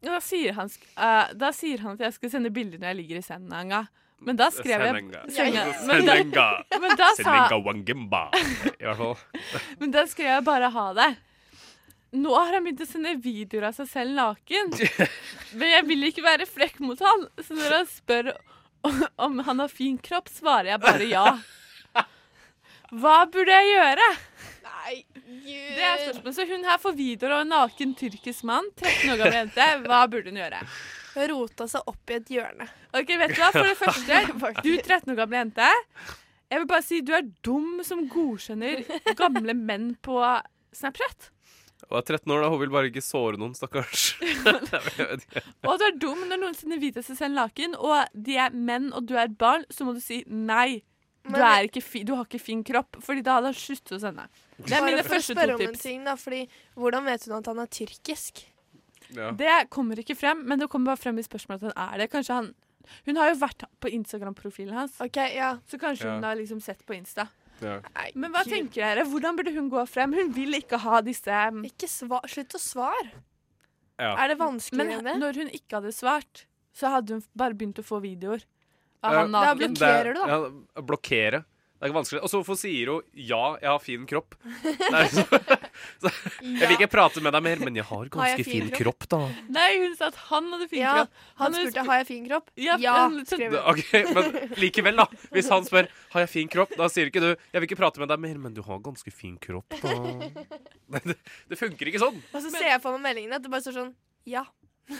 Speaker 18: Og da sier han, sk- eh, da sier han at jeg skal sende bilder når jeg ligger i senga. Men da skrev jeg
Speaker 15: Senenga.
Speaker 18: Senga. Men da,
Speaker 15: Senenga.
Speaker 18: men da sa-
Speaker 15: Senenga wangimba, i hvert fall.
Speaker 18: men da skrev jeg bare 'ha det'. Nå har han begynt å sende videoer av seg selv naken. Men jeg vil ikke være frekk mot han, så når han spør o- om han har fin kropp, svarer jeg bare ja. Hva burde jeg gjøre? Nei, Det er spørsmålet. Så hun her får videoer av en naken tyrkisk mann, 13 år gammel jente. Hva burde hun gjøre? Hun rota seg opp i et hjørne. Ok, vet du hva? For det første, du 13 år gamle jente. Jeg vil bare si du er dum som godkjenner gamle menn på Snapchat.
Speaker 15: Og er 13 år, da. Hun vil bare ikke såre noen, stakkars. Jeg vet ikke.
Speaker 18: Og at du er dum når noen sender video av seg selv naken, og de er menn og du er et barn, så må du si nei. Du,
Speaker 19: Men-
Speaker 18: er ikke fi, du har ikke fin kropp, Fordi da hadde han sluttet å sende. Det er
Speaker 19: Bare
Speaker 18: mine
Speaker 19: for å
Speaker 18: første
Speaker 19: spørre
Speaker 18: to
Speaker 19: om en
Speaker 18: tips.
Speaker 19: Ting, da, fordi, hvordan vet hun at han er tyrkisk?
Speaker 18: Det kommer ikke frem, men det kommer bare frem i spørsmålet at han er det. Kanskje han Hun har jo vært på Instagram-profilen hans, så kanskje hun
Speaker 15: Ja.
Speaker 18: har liksom sett på Insta.
Speaker 15: Ja.
Speaker 18: Men hva tenker dere? Hvordan burde hun gå frem? Hun vil ikke ha disse um, Slutt å svare.
Speaker 15: Ja.
Speaker 18: Men h- når hun ikke hadde svart, så hadde hun f- bare begynt å få videoer av han
Speaker 15: Ja,
Speaker 18: naken.
Speaker 15: men det- Eh, Ja, blokkere. Det er ikke vanskelig. Og så hvorfor sier hun 'ja, jeg har fin kropp'? Det er så, så, jeg vil ikke prate med deg mer, men jeg har ganske
Speaker 18: jeg
Speaker 15: fin,
Speaker 18: fin
Speaker 15: kropp, da.
Speaker 18: Nei, hun sa at han hadde fin
Speaker 19: Ja,
Speaker 18: kropp.
Speaker 19: han
Speaker 18: hadde
Speaker 19: spurte,
Speaker 18: spurt-
Speaker 19: «Har jeg fin kropp?»
Speaker 18: Ja,
Speaker 19: Ja,
Speaker 18: han-
Speaker 19: skrev
Speaker 15: Det- Ok, Men likevel, da. Hvis han spør 'har jeg fin kropp', da sier ikke du 'jeg vil ikke prate med deg mer', men du har ganske fin kropp, da. Nei, Det, det funker ikke sånn.
Speaker 19: Og så ser jeg for meg meldingen at det bare står sånn ja. det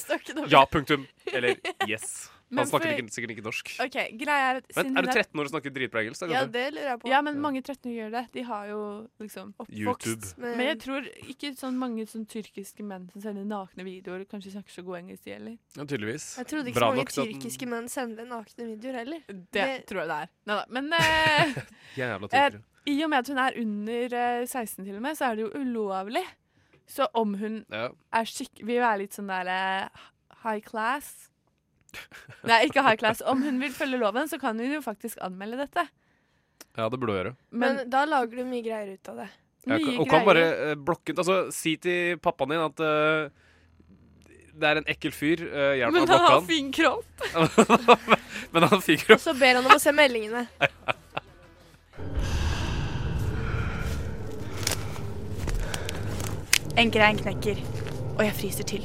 Speaker 19: står ikke noe
Speaker 15: ja, punktum. Eller yes. Han
Speaker 18: Men for-
Speaker 15: snakker ikke, sikkert ikke norsk.
Speaker 18: OK, greia er at
Speaker 15: Men
Speaker 18: siden
Speaker 15: er du
Speaker 18: hun
Speaker 15: 13 år og snakker dritbra engelsk? da, kanskje?
Speaker 18: det lurer jeg på. Ja, men mange 13 gjør det. De har jo liksom
Speaker 15: YouTube.
Speaker 18: Men, jeg tror ikke sånn mange sånn tyrkiske menn som sender nakne videoer, kanskje snakker så god engelsk, de heller.
Speaker 15: Ja, tydeligvis.
Speaker 19: Jeg trodde ikke
Speaker 15: Bra
Speaker 19: så mange
Speaker 15: nok til at den-
Speaker 19: tyrkiske menn sender nakne videoer heller.
Speaker 18: Det tror jeg det er. Neida, Men eh,
Speaker 15: Jævla
Speaker 18: eh,
Speaker 15: tyrkere.
Speaker 18: i og med at hun er under eh, 16 til og med, så er det jo ulovlig. Så om hun
Speaker 15: Ja.
Speaker 18: er skikk... Vil være litt sånn der eh, high class Nei, ikke high class. Om hun vil følge loven, så kan hun jo faktisk anmelde dette.
Speaker 15: Ja, det burde du gjøre.
Speaker 19: Men, da lager du mye greier ut av det.
Speaker 15: Jeg kan, og kan bare eh, blokke ut. Altså, si til pappaen din at eh, det er en ekkel fyr. eh, hjelp meg å blokke han.
Speaker 18: fin kropp.
Speaker 15: Men han fikk jo
Speaker 19: Så ber han om å se meldingene. En grein knekker, og jeg fryser til.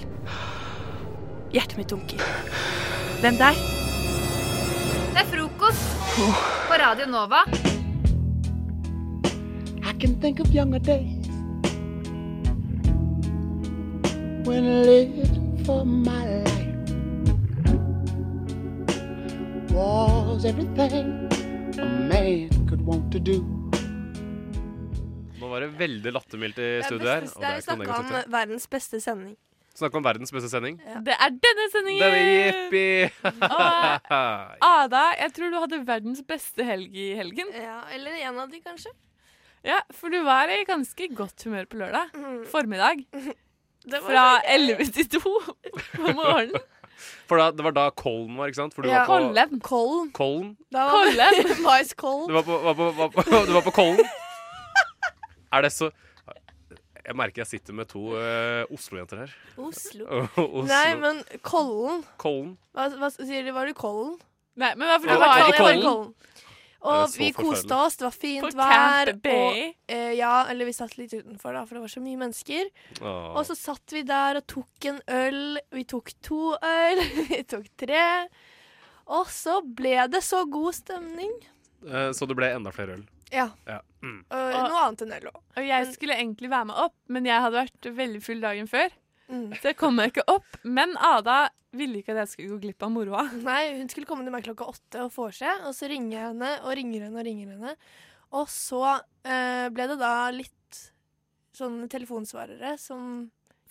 Speaker 19: Hjertet mitt dunker. Hvem der?
Speaker 8: Det er frokost på Radio Nova.
Speaker 13: I can think of younger days when living for my life was everything a man could want to do.
Speaker 15: Nå var det veldig lattermildt i
Speaker 19: Det er
Speaker 15: studio her.
Speaker 19: beste-
Speaker 15: og
Speaker 19: det
Speaker 15: ikke noe
Speaker 19: er snakket om
Speaker 15: negativt.
Speaker 19: verdens beste sending.
Speaker 15: Snakk om verdens beste sending.
Speaker 18: Det er denne sendingen!
Speaker 15: Denne jippi!
Speaker 18: Ada, jeg tror du hadde verdens beste helg i helgen.
Speaker 19: Ja, Eller en av de, kanskje.
Speaker 18: Ja, for du var i ganske godt humør på lørdag.
Speaker 19: Mm.
Speaker 18: Formiddag.
Speaker 19: Det var
Speaker 18: Fra
Speaker 19: veldig-
Speaker 18: 11 til 2 på morgenen.
Speaker 15: For da, det var da Kollen var, ikke sant? For du
Speaker 19: Ja.
Speaker 15: var på
Speaker 18: Kollen.
Speaker 19: Kollen.
Speaker 15: Kollen?
Speaker 19: Da var det
Speaker 18: Kollen.
Speaker 19: Mice Kollen.
Speaker 15: Du var på, var på, var på, du var på Kollen? Er det så Jeg merker jeg sitter med to eh, Oslo-jenter her.
Speaker 19: Oslo.
Speaker 15: Oslo.
Speaker 19: Nei, men Kollen.
Speaker 15: Kollen.
Speaker 19: Hva, hva sier de? Var du Kollen?
Speaker 18: Nei, men hva
Speaker 19: for
Speaker 15: Ja, var det
Speaker 19: var jeg var i
Speaker 15: Kollen?
Speaker 19: Kollen.
Speaker 15: Det er
Speaker 19: Og
Speaker 15: så
Speaker 19: vi koste
Speaker 15: forferdelig.
Speaker 19: oss, det var fint
Speaker 18: På
Speaker 19: vær.
Speaker 18: Camp Bay.
Speaker 19: Og, eh, ja, eller vi satt litt utenfor, da, for det var så mye mennesker.
Speaker 15: Åh.
Speaker 19: Og så satt vi der og tok en øl. Vi tok to øl, vi tok tre. Og så ble det så god stemning.
Speaker 15: Eh, så det ble enda flere øl.
Speaker 19: Ja.
Speaker 15: Ja. Mm.
Speaker 19: Og, noe annet enn øl òg.
Speaker 18: Og jeg skulle egentlig være med opp, men jeg hadde vært veldig full dagen før.
Speaker 19: Mm.
Speaker 18: Så jeg kom meg ikke opp. Men Ada ville ikke at jeg skulle gå glipp av moroa.
Speaker 19: Nei, hun skulle komme til meg klokka åtte og få seg, og så ringer jeg henne og ringer henne og ringer henne. Og så eh, ble det da litt sånne telefonsvarere som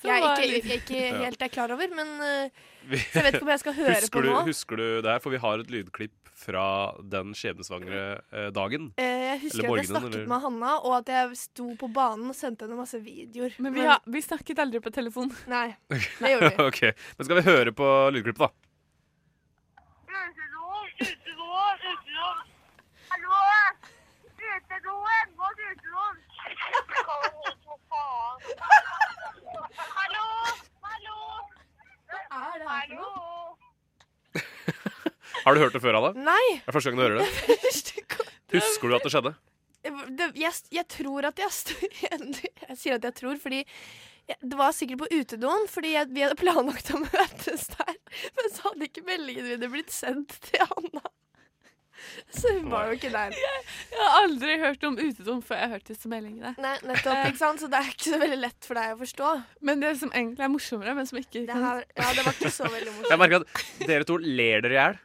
Speaker 18: Som
Speaker 19: jeg
Speaker 18: var
Speaker 19: ikke,
Speaker 18: litt-
Speaker 19: jeg ikke
Speaker 15: Ja.
Speaker 19: helt er klar over, men eh,
Speaker 15: Vi-
Speaker 19: så jeg vet ikke om jeg skal høre
Speaker 15: husker
Speaker 19: på
Speaker 15: du,
Speaker 19: nå.
Speaker 15: Husker du det her? For vi har et lydklipp fra den skjebnesvangre eh, dagen.
Speaker 19: Eh, jeg husker at jeg
Speaker 15: morgenen,
Speaker 19: snakket
Speaker 15: eller-
Speaker 19: med Hanna, og at jeg sto på banen og sendte henne masse videoer.
Speaker 18: Men vi, har, vi snakket aldri på telefon.
Speaker 19: Nei, det gjorde vi.
Speaker 15: Ok, Men skal vi høre på lydklippet, da? Har du hørt det før, Ada?
Speaker 19: Nei.
Speaker 15: Det er første gang du hører det. Husker du at det skjedde?
Speaker 19: det, jeg, jeg tror at jeg sto Jeg sier at jeg tror, fordi jeg, det var sikkert på utedoen, fordi jeg, vi hadde planlagt å møtes der. Men så hadde ikke meldingene mine blitt sendt til Hanna. Så hun var jo ikke der.
Speaker 18: Jeg har aldri hørt om utedoen før jeg hørte disse meldingene.
Speaker 19: Nei, nettopp, ikke sant? Så det er ikke så veldig lett for deg å forstå.
Speaker 18: Men det som egentlig er morsommere, men som ikke
Speaker 19: Det her, ja, det var ikke så veldig morsomt.
Speaker 15: Jeg merker at dere to ler dere i hjel.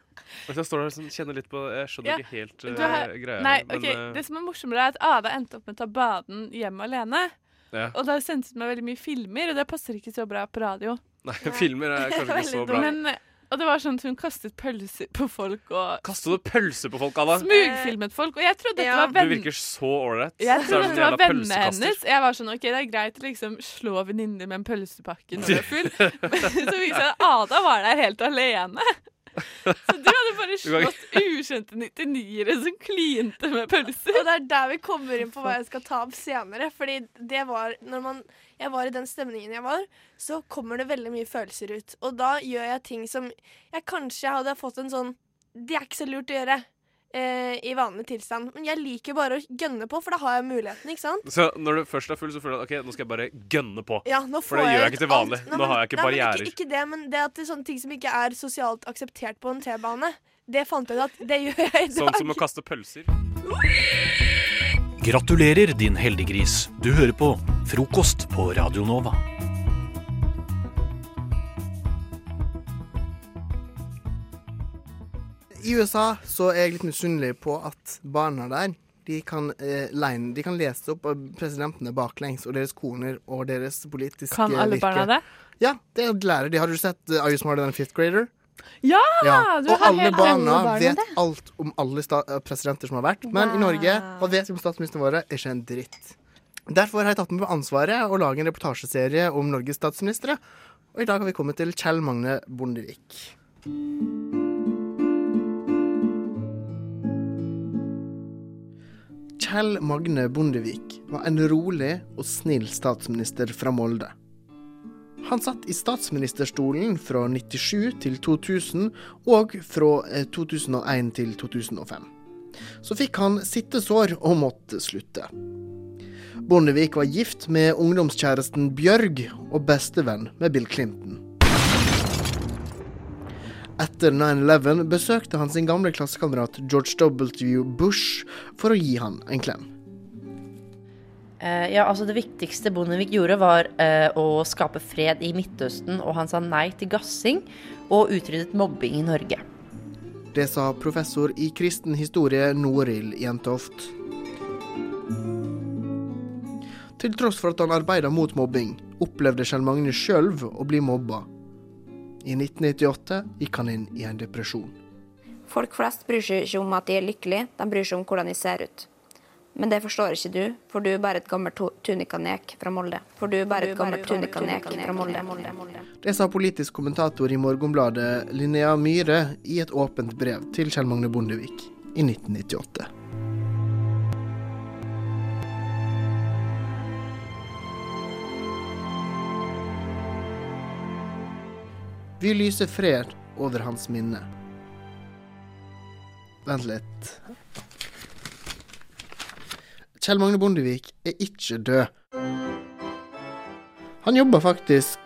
Speaker 15: Og så står dere og sånn, kjenner litt på Jeg skjønner
Speaker 18: Ja,
Speaker 15: ikke helt
Speaker 18: du
Speaker 15: eh,
Speaker 18: har-
Speaker 15: greia.
Speaker 18: Nei,
Speaker 15: men,
Speaker 18: ok,
Speaker 15: eh,
Speaker 18: Det som er morsommere, er at Ada endte opp med å ta baden hjem alene.
Speaker 15: Ja.
Speaker 18: Og det har sendt ut meg veldig mye filmer, og det passer ikke så bra på radio.
Speaker 15: Nei, filmer er kanskje ikke så bra.
Speaker 18: Men, og det var sånn at hun kastet pølser på folk og
Speaker 15: Kastet du pølse på folk, Ada?
Speaker 18: smugfilmet folk. Og jeg trodde dette var
Speaker 15: Du
Speaker 18: venn...
Speaker 15: virker så ålreit.
Speaker 18: Jeg
Speaker 15: Så er
Speaker 18: trodde
Speaker 15: en
Speaker 18: det var
Speaker 15: jævla
Speaker 18: vennene
Speaker 15: pølsekaster.
Speaker 18: hennes. Jeg var sånn, ok, Det er greit å liksom slå venninner med en pølsepakke når du er full, men så viser det seg at Ada var der helt alene. Så du hadde bare
Speaker 15: Du kan ikke-
Speaker 18: slått ukjente 99-ere som klinte med pølser.
Speaker 19: Og det er der vi kommer inn på hva jeg skal ta opp senere. Fordi det var Når man, jeg var i den stemningen jeg var, så kommer det veldig mye følelser ut. Og da gjør jeg ting som jeg kanskje hadde fått en sånn Det er ikke så lurt å gjøre eh, i vanlig tilstand. Men jeg liker bare å gønne på, for da har jeg muligheten, ikke sant?
Speaker 15: Så når du først er full, så føler du at ok, nå skal jeg bare gønne på.
Speaker 19: Ja, nå får
Speaker 15: For det gjør jeg
Speaker 19: ut
Speaker 15: ikke til vanlig.
Speaker 19: alt. Nei,
Speaker 15: Nå
Speaker 19: men-
Speaker 15: har jeg ikke
Speaker 19: nei, men
Speaker 15: barrierer.
Speaker 19: Ikke, ikke det, men det at det er sånne ting som ikke er sosialt akseptert på en T-bane, det fant jeg ut at det gjør jeg i dag.
Speaker 15: Sånn som å kaste pølser.
Speaker 2: Gratulerer, din heldiggris. Du hører på Frokost på Radio Nova.
Speaker 20: I USA så er jeg litt misunnelig på at barna der de kan, eh, line, de kan lese opp presidentene baklengs og deres koner og deres politiske
Speaker 18: Kan alle barna det?
Speaker 20: Ja, det lærer de. Har du sett eh, Are you smarter than a fifth grader?
Speaker 18: Ja!
Speaker 20: Ja,
Speaker 18: du
Speaker 20: Og
Speaker 18: har
Speaker 20: alle
Speaker 18: helt-
Speaker 20: barna
Speaker 18: alle barna
Speaker 20: vet
Speaker 18: det?
Speaker 20: alt om alle sta eh, presidenter som har vært. Men i
Speaker 18: Wow.
Speaker 20: Norge, hva vet vi om statsministrene våre? Ikke en dritt. Derfor har jeg tatt med meg ansvaret å lage en reportasjeserie om Norges statsministre. Og i dag har vi kommet til Kjell Magne Bondevik. Kjell Magne Bondevik var en rolig og snill statsminister fra Molde. Han satt i statsministerstolen fra 97 til 2000, og fra eh, 2001 til 2005. Så fikk han sittesår og måtte slutte. Bondevik var gift med ungdomskjæresten Bjørg og bestevenn med Bill Clinton. Etter 9-11 besøkte han sin gamle klassekamerat George W. Bush for å gi han en klem.
Speaker 21: Eh, ja, altså Det viktigste Bondevik gjorde, var eh, å skape fred i Midtøsten. Og han sa nei til gassing og utryddet mobbing i Norge.
Speaker 20: Det sa professor i kristen historie Noril Jentoft. Til tross for at han arbeida mot mobbing, opplevde Kjell Magne sjøl å bli mobba. I 1998 gikk han inn i en depresjon.
Speaker 22: Folk flest bryr seg ikke om at de er lykkelige, de bryr seg om hvordan de ser ut. Men det forstår ikke du, for du er bare et gammelt to- tunikanek fra Molde. For du er bare et gammelt tunikanek fra Molde.
Speaker 20: Det sa politisk kommentator i Morgenbladet Linnea Myhre i et åpent brev til Kjell Magne Bondevik i 1998. Vi lyser fred over hans minne. Vent litt. Kjell Magne Bondevik er ikke død. Han jobber faktisk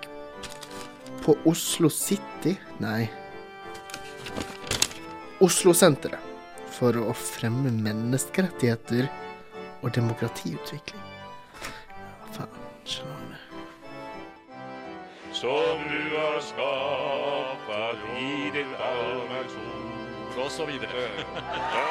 Speaker 20: på Oslo City Nei. Oslo-senteret for å fremme menneskerettigheter og demokratiutvikling. Ja, faen, skjønner du.
Speaker 23: Som du har skapa i ditt allmennord Og så videre.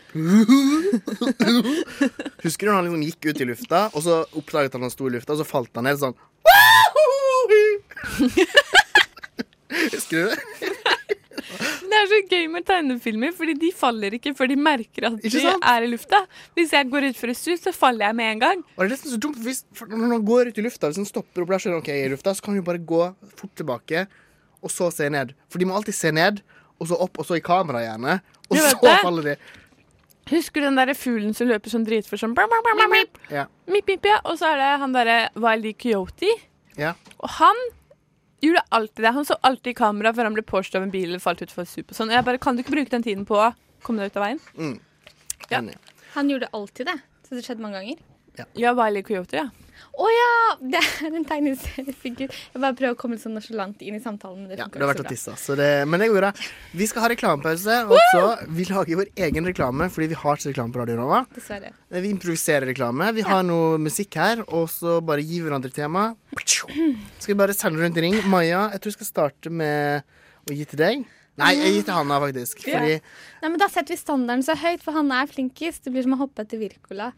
Speaker 20: Husker du når han liksom gikk ut i lufta, og så oppdaget han at han sto i lufta, og så falt han ned sånn Husker du det?
Speaker 18: Det er så gøy med tegnefilmer, fordi de faller ikke før de merker at
Speaker 20: Ikke
Speaker 18: de
Speaker 20: sant?
Speaker 18: er i lufta. Hvis jeg går ut for et sus, så faller jeg med en gang.
Speaker 20: Og det er nesten så dumt, for hvis, for når han går ut i lufta, hvis han stopper opp der, skjønner han, ok, jeg er i lufta, så kan han jo bare gå fort tilbake, og så se ned. For de må alltid se ned, og så opp, og så i kamera gjerne. Og
Speaker 18: Jeg
Speaker 20: så
Speaker 18: vet det.
Speaker 20: faller de.
Speaker 18: Husker du den derre fuglen som løper sånn dritfort sånn blam, blam, blam, blam, blam.
Speaker 20: Ja.
Speaker 18: Mip, mip, ja. Og så er det han derre Wiley Coyote.
Speaker 20: ja.
Speaker 18: Og han gjorde alltid det. Han så alltid i kamera før han ble påstått av en bil eller falt utfor en sup og sånn. Og jeg bare, kan du ikke bruke den tiden på å komme deg ut av veien?
Speaker 20: Mm. Enig.
Speaker 12: Han gjorde alltid det. Så det skjedde mange ganger.
Speaker 18: Ja, Wiley Coyote, ja.
Speaker 12: Å ja! Det er en tegneseriefigur. Jeg bare prøver å komme litt sånn nonchalant inn i samtalen. Men det
Speaker 20: Ja,
Speaker 12: funker
Speaker 20: det har vært
Speaker 12: ikke så
Speaker 20: å
Speaker 12: bra.
Speaker 20: tisse, så det, men det går bra. Vi skal ha reklamepause, og så vi lager vår egen reklame, fordi vi har ikke reklame på Radio Nova.
Speaker 12: Dessverre.
Speaker 20: Vi improviserer reklame. Vi har noe musikk her, og så bare gi hverandre tema. Skal vi bare sende rundt i ring? Maja, jeg tror jeg skal starte med å gi til deg. Nei, jeg gir til Hanna, faktisk.
Speaker 12: Ja.
Speaker 20: Fordi
Speaker 12: Nei, men Da setter vi standarden så høyt, for han er flinkest. Det blir som å hoppe etter Wirkola.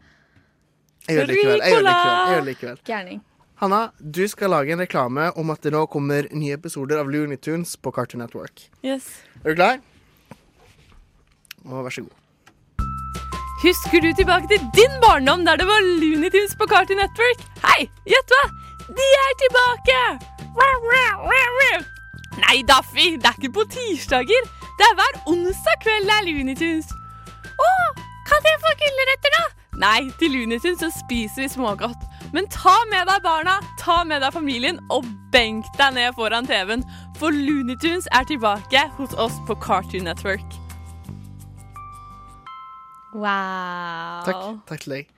Speaker 20: jeg gjør det likevel. Jeg gjør det likevel. Jeg gjør det likevel.
Speaker 12: Gærning.
Speaker 20: Hanna, du skal lage en reklame om at det nå kommer nye episoder av Looney Tunes på Cartoon Network.
Speaker 18: Yes.
Speaker 20: Er du klar? Og vær så god.
Speaker 18: Husker du tilbake til din barndom der det var Looney Tunes på Cartoon Network? Hei, gjett hva? De er tilbake! Wow, wow, wow, wow. Nei, Daffy, det er ikke på tirsdager. Det er hver onsdag kveld det er Looney Tunes. Å, kan jeg få gulrøtter, da? Nei, til Looney Tunes så spiser vi smågodt. Men ta med deg barna, ta med deg familien og benk deg ned foran TV-en. For Looney Tunes er tilbake hos oss på Cartoon Network.
Speaker 12: Wow.
Speaker 20: Takk, takk til deg.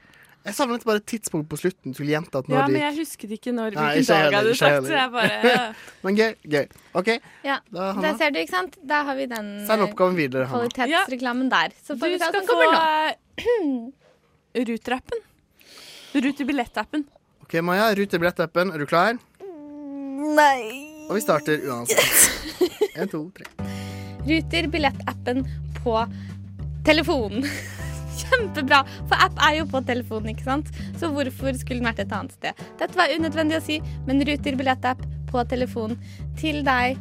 Speaker 20: Jeg savnet bare et tidspunkt på slutten. Du skulle gjenta at når
Speaker 18: Ja,
Speaker 20: det
Speaker 18: men
Speaker 20: gikk.
Speaker 18: jeg husket ikke når,
Speaker 20: Nei,
Speaker 18: hvilken
Speaker 20: ikke jeg
Speaker 18: dag jeg
Speaker 20: heller,
Speaker 18: hadde
Speaker 20: ikke jeg
Speaker 18: sagt, så jeg bare
Speaker 20: Men gøy. gøy. OK,
Speaker 12: Ja,
Speaker 20: Da, Hanna.
Speaker 12: Der ser du, ikke sant? Da har vi den
Speaker 20: send
Speaker 12: eh,
Speaker 20: oppgaven videre, Hanna.
Speaker 12: kvalitetsreklamen der. Så får
Speaker 18: Du
Speaker 12: vi se hva
Speaker 18: skal
Speaker 12: som
Speaker 18: få
Speaker 12: kommer nå.
Speaker 18: eh, Ruter-appen. eh, Ruter-billett-appen.
Speaker 20: OK, Maja. Ruter billettappen. Er du klar?
Speaker 12: Nei.
Speaker 20: Og vi starter uansett. En, to, tre.
Speaker 12: Ruter billettappen på telefonen. Kjempebra, for app er jo på telefonen, ikke sant? Så hvorfor skulle den vært et annet sted? Dette var unødvendig å si, men Ruter billettapp på telefonen til deg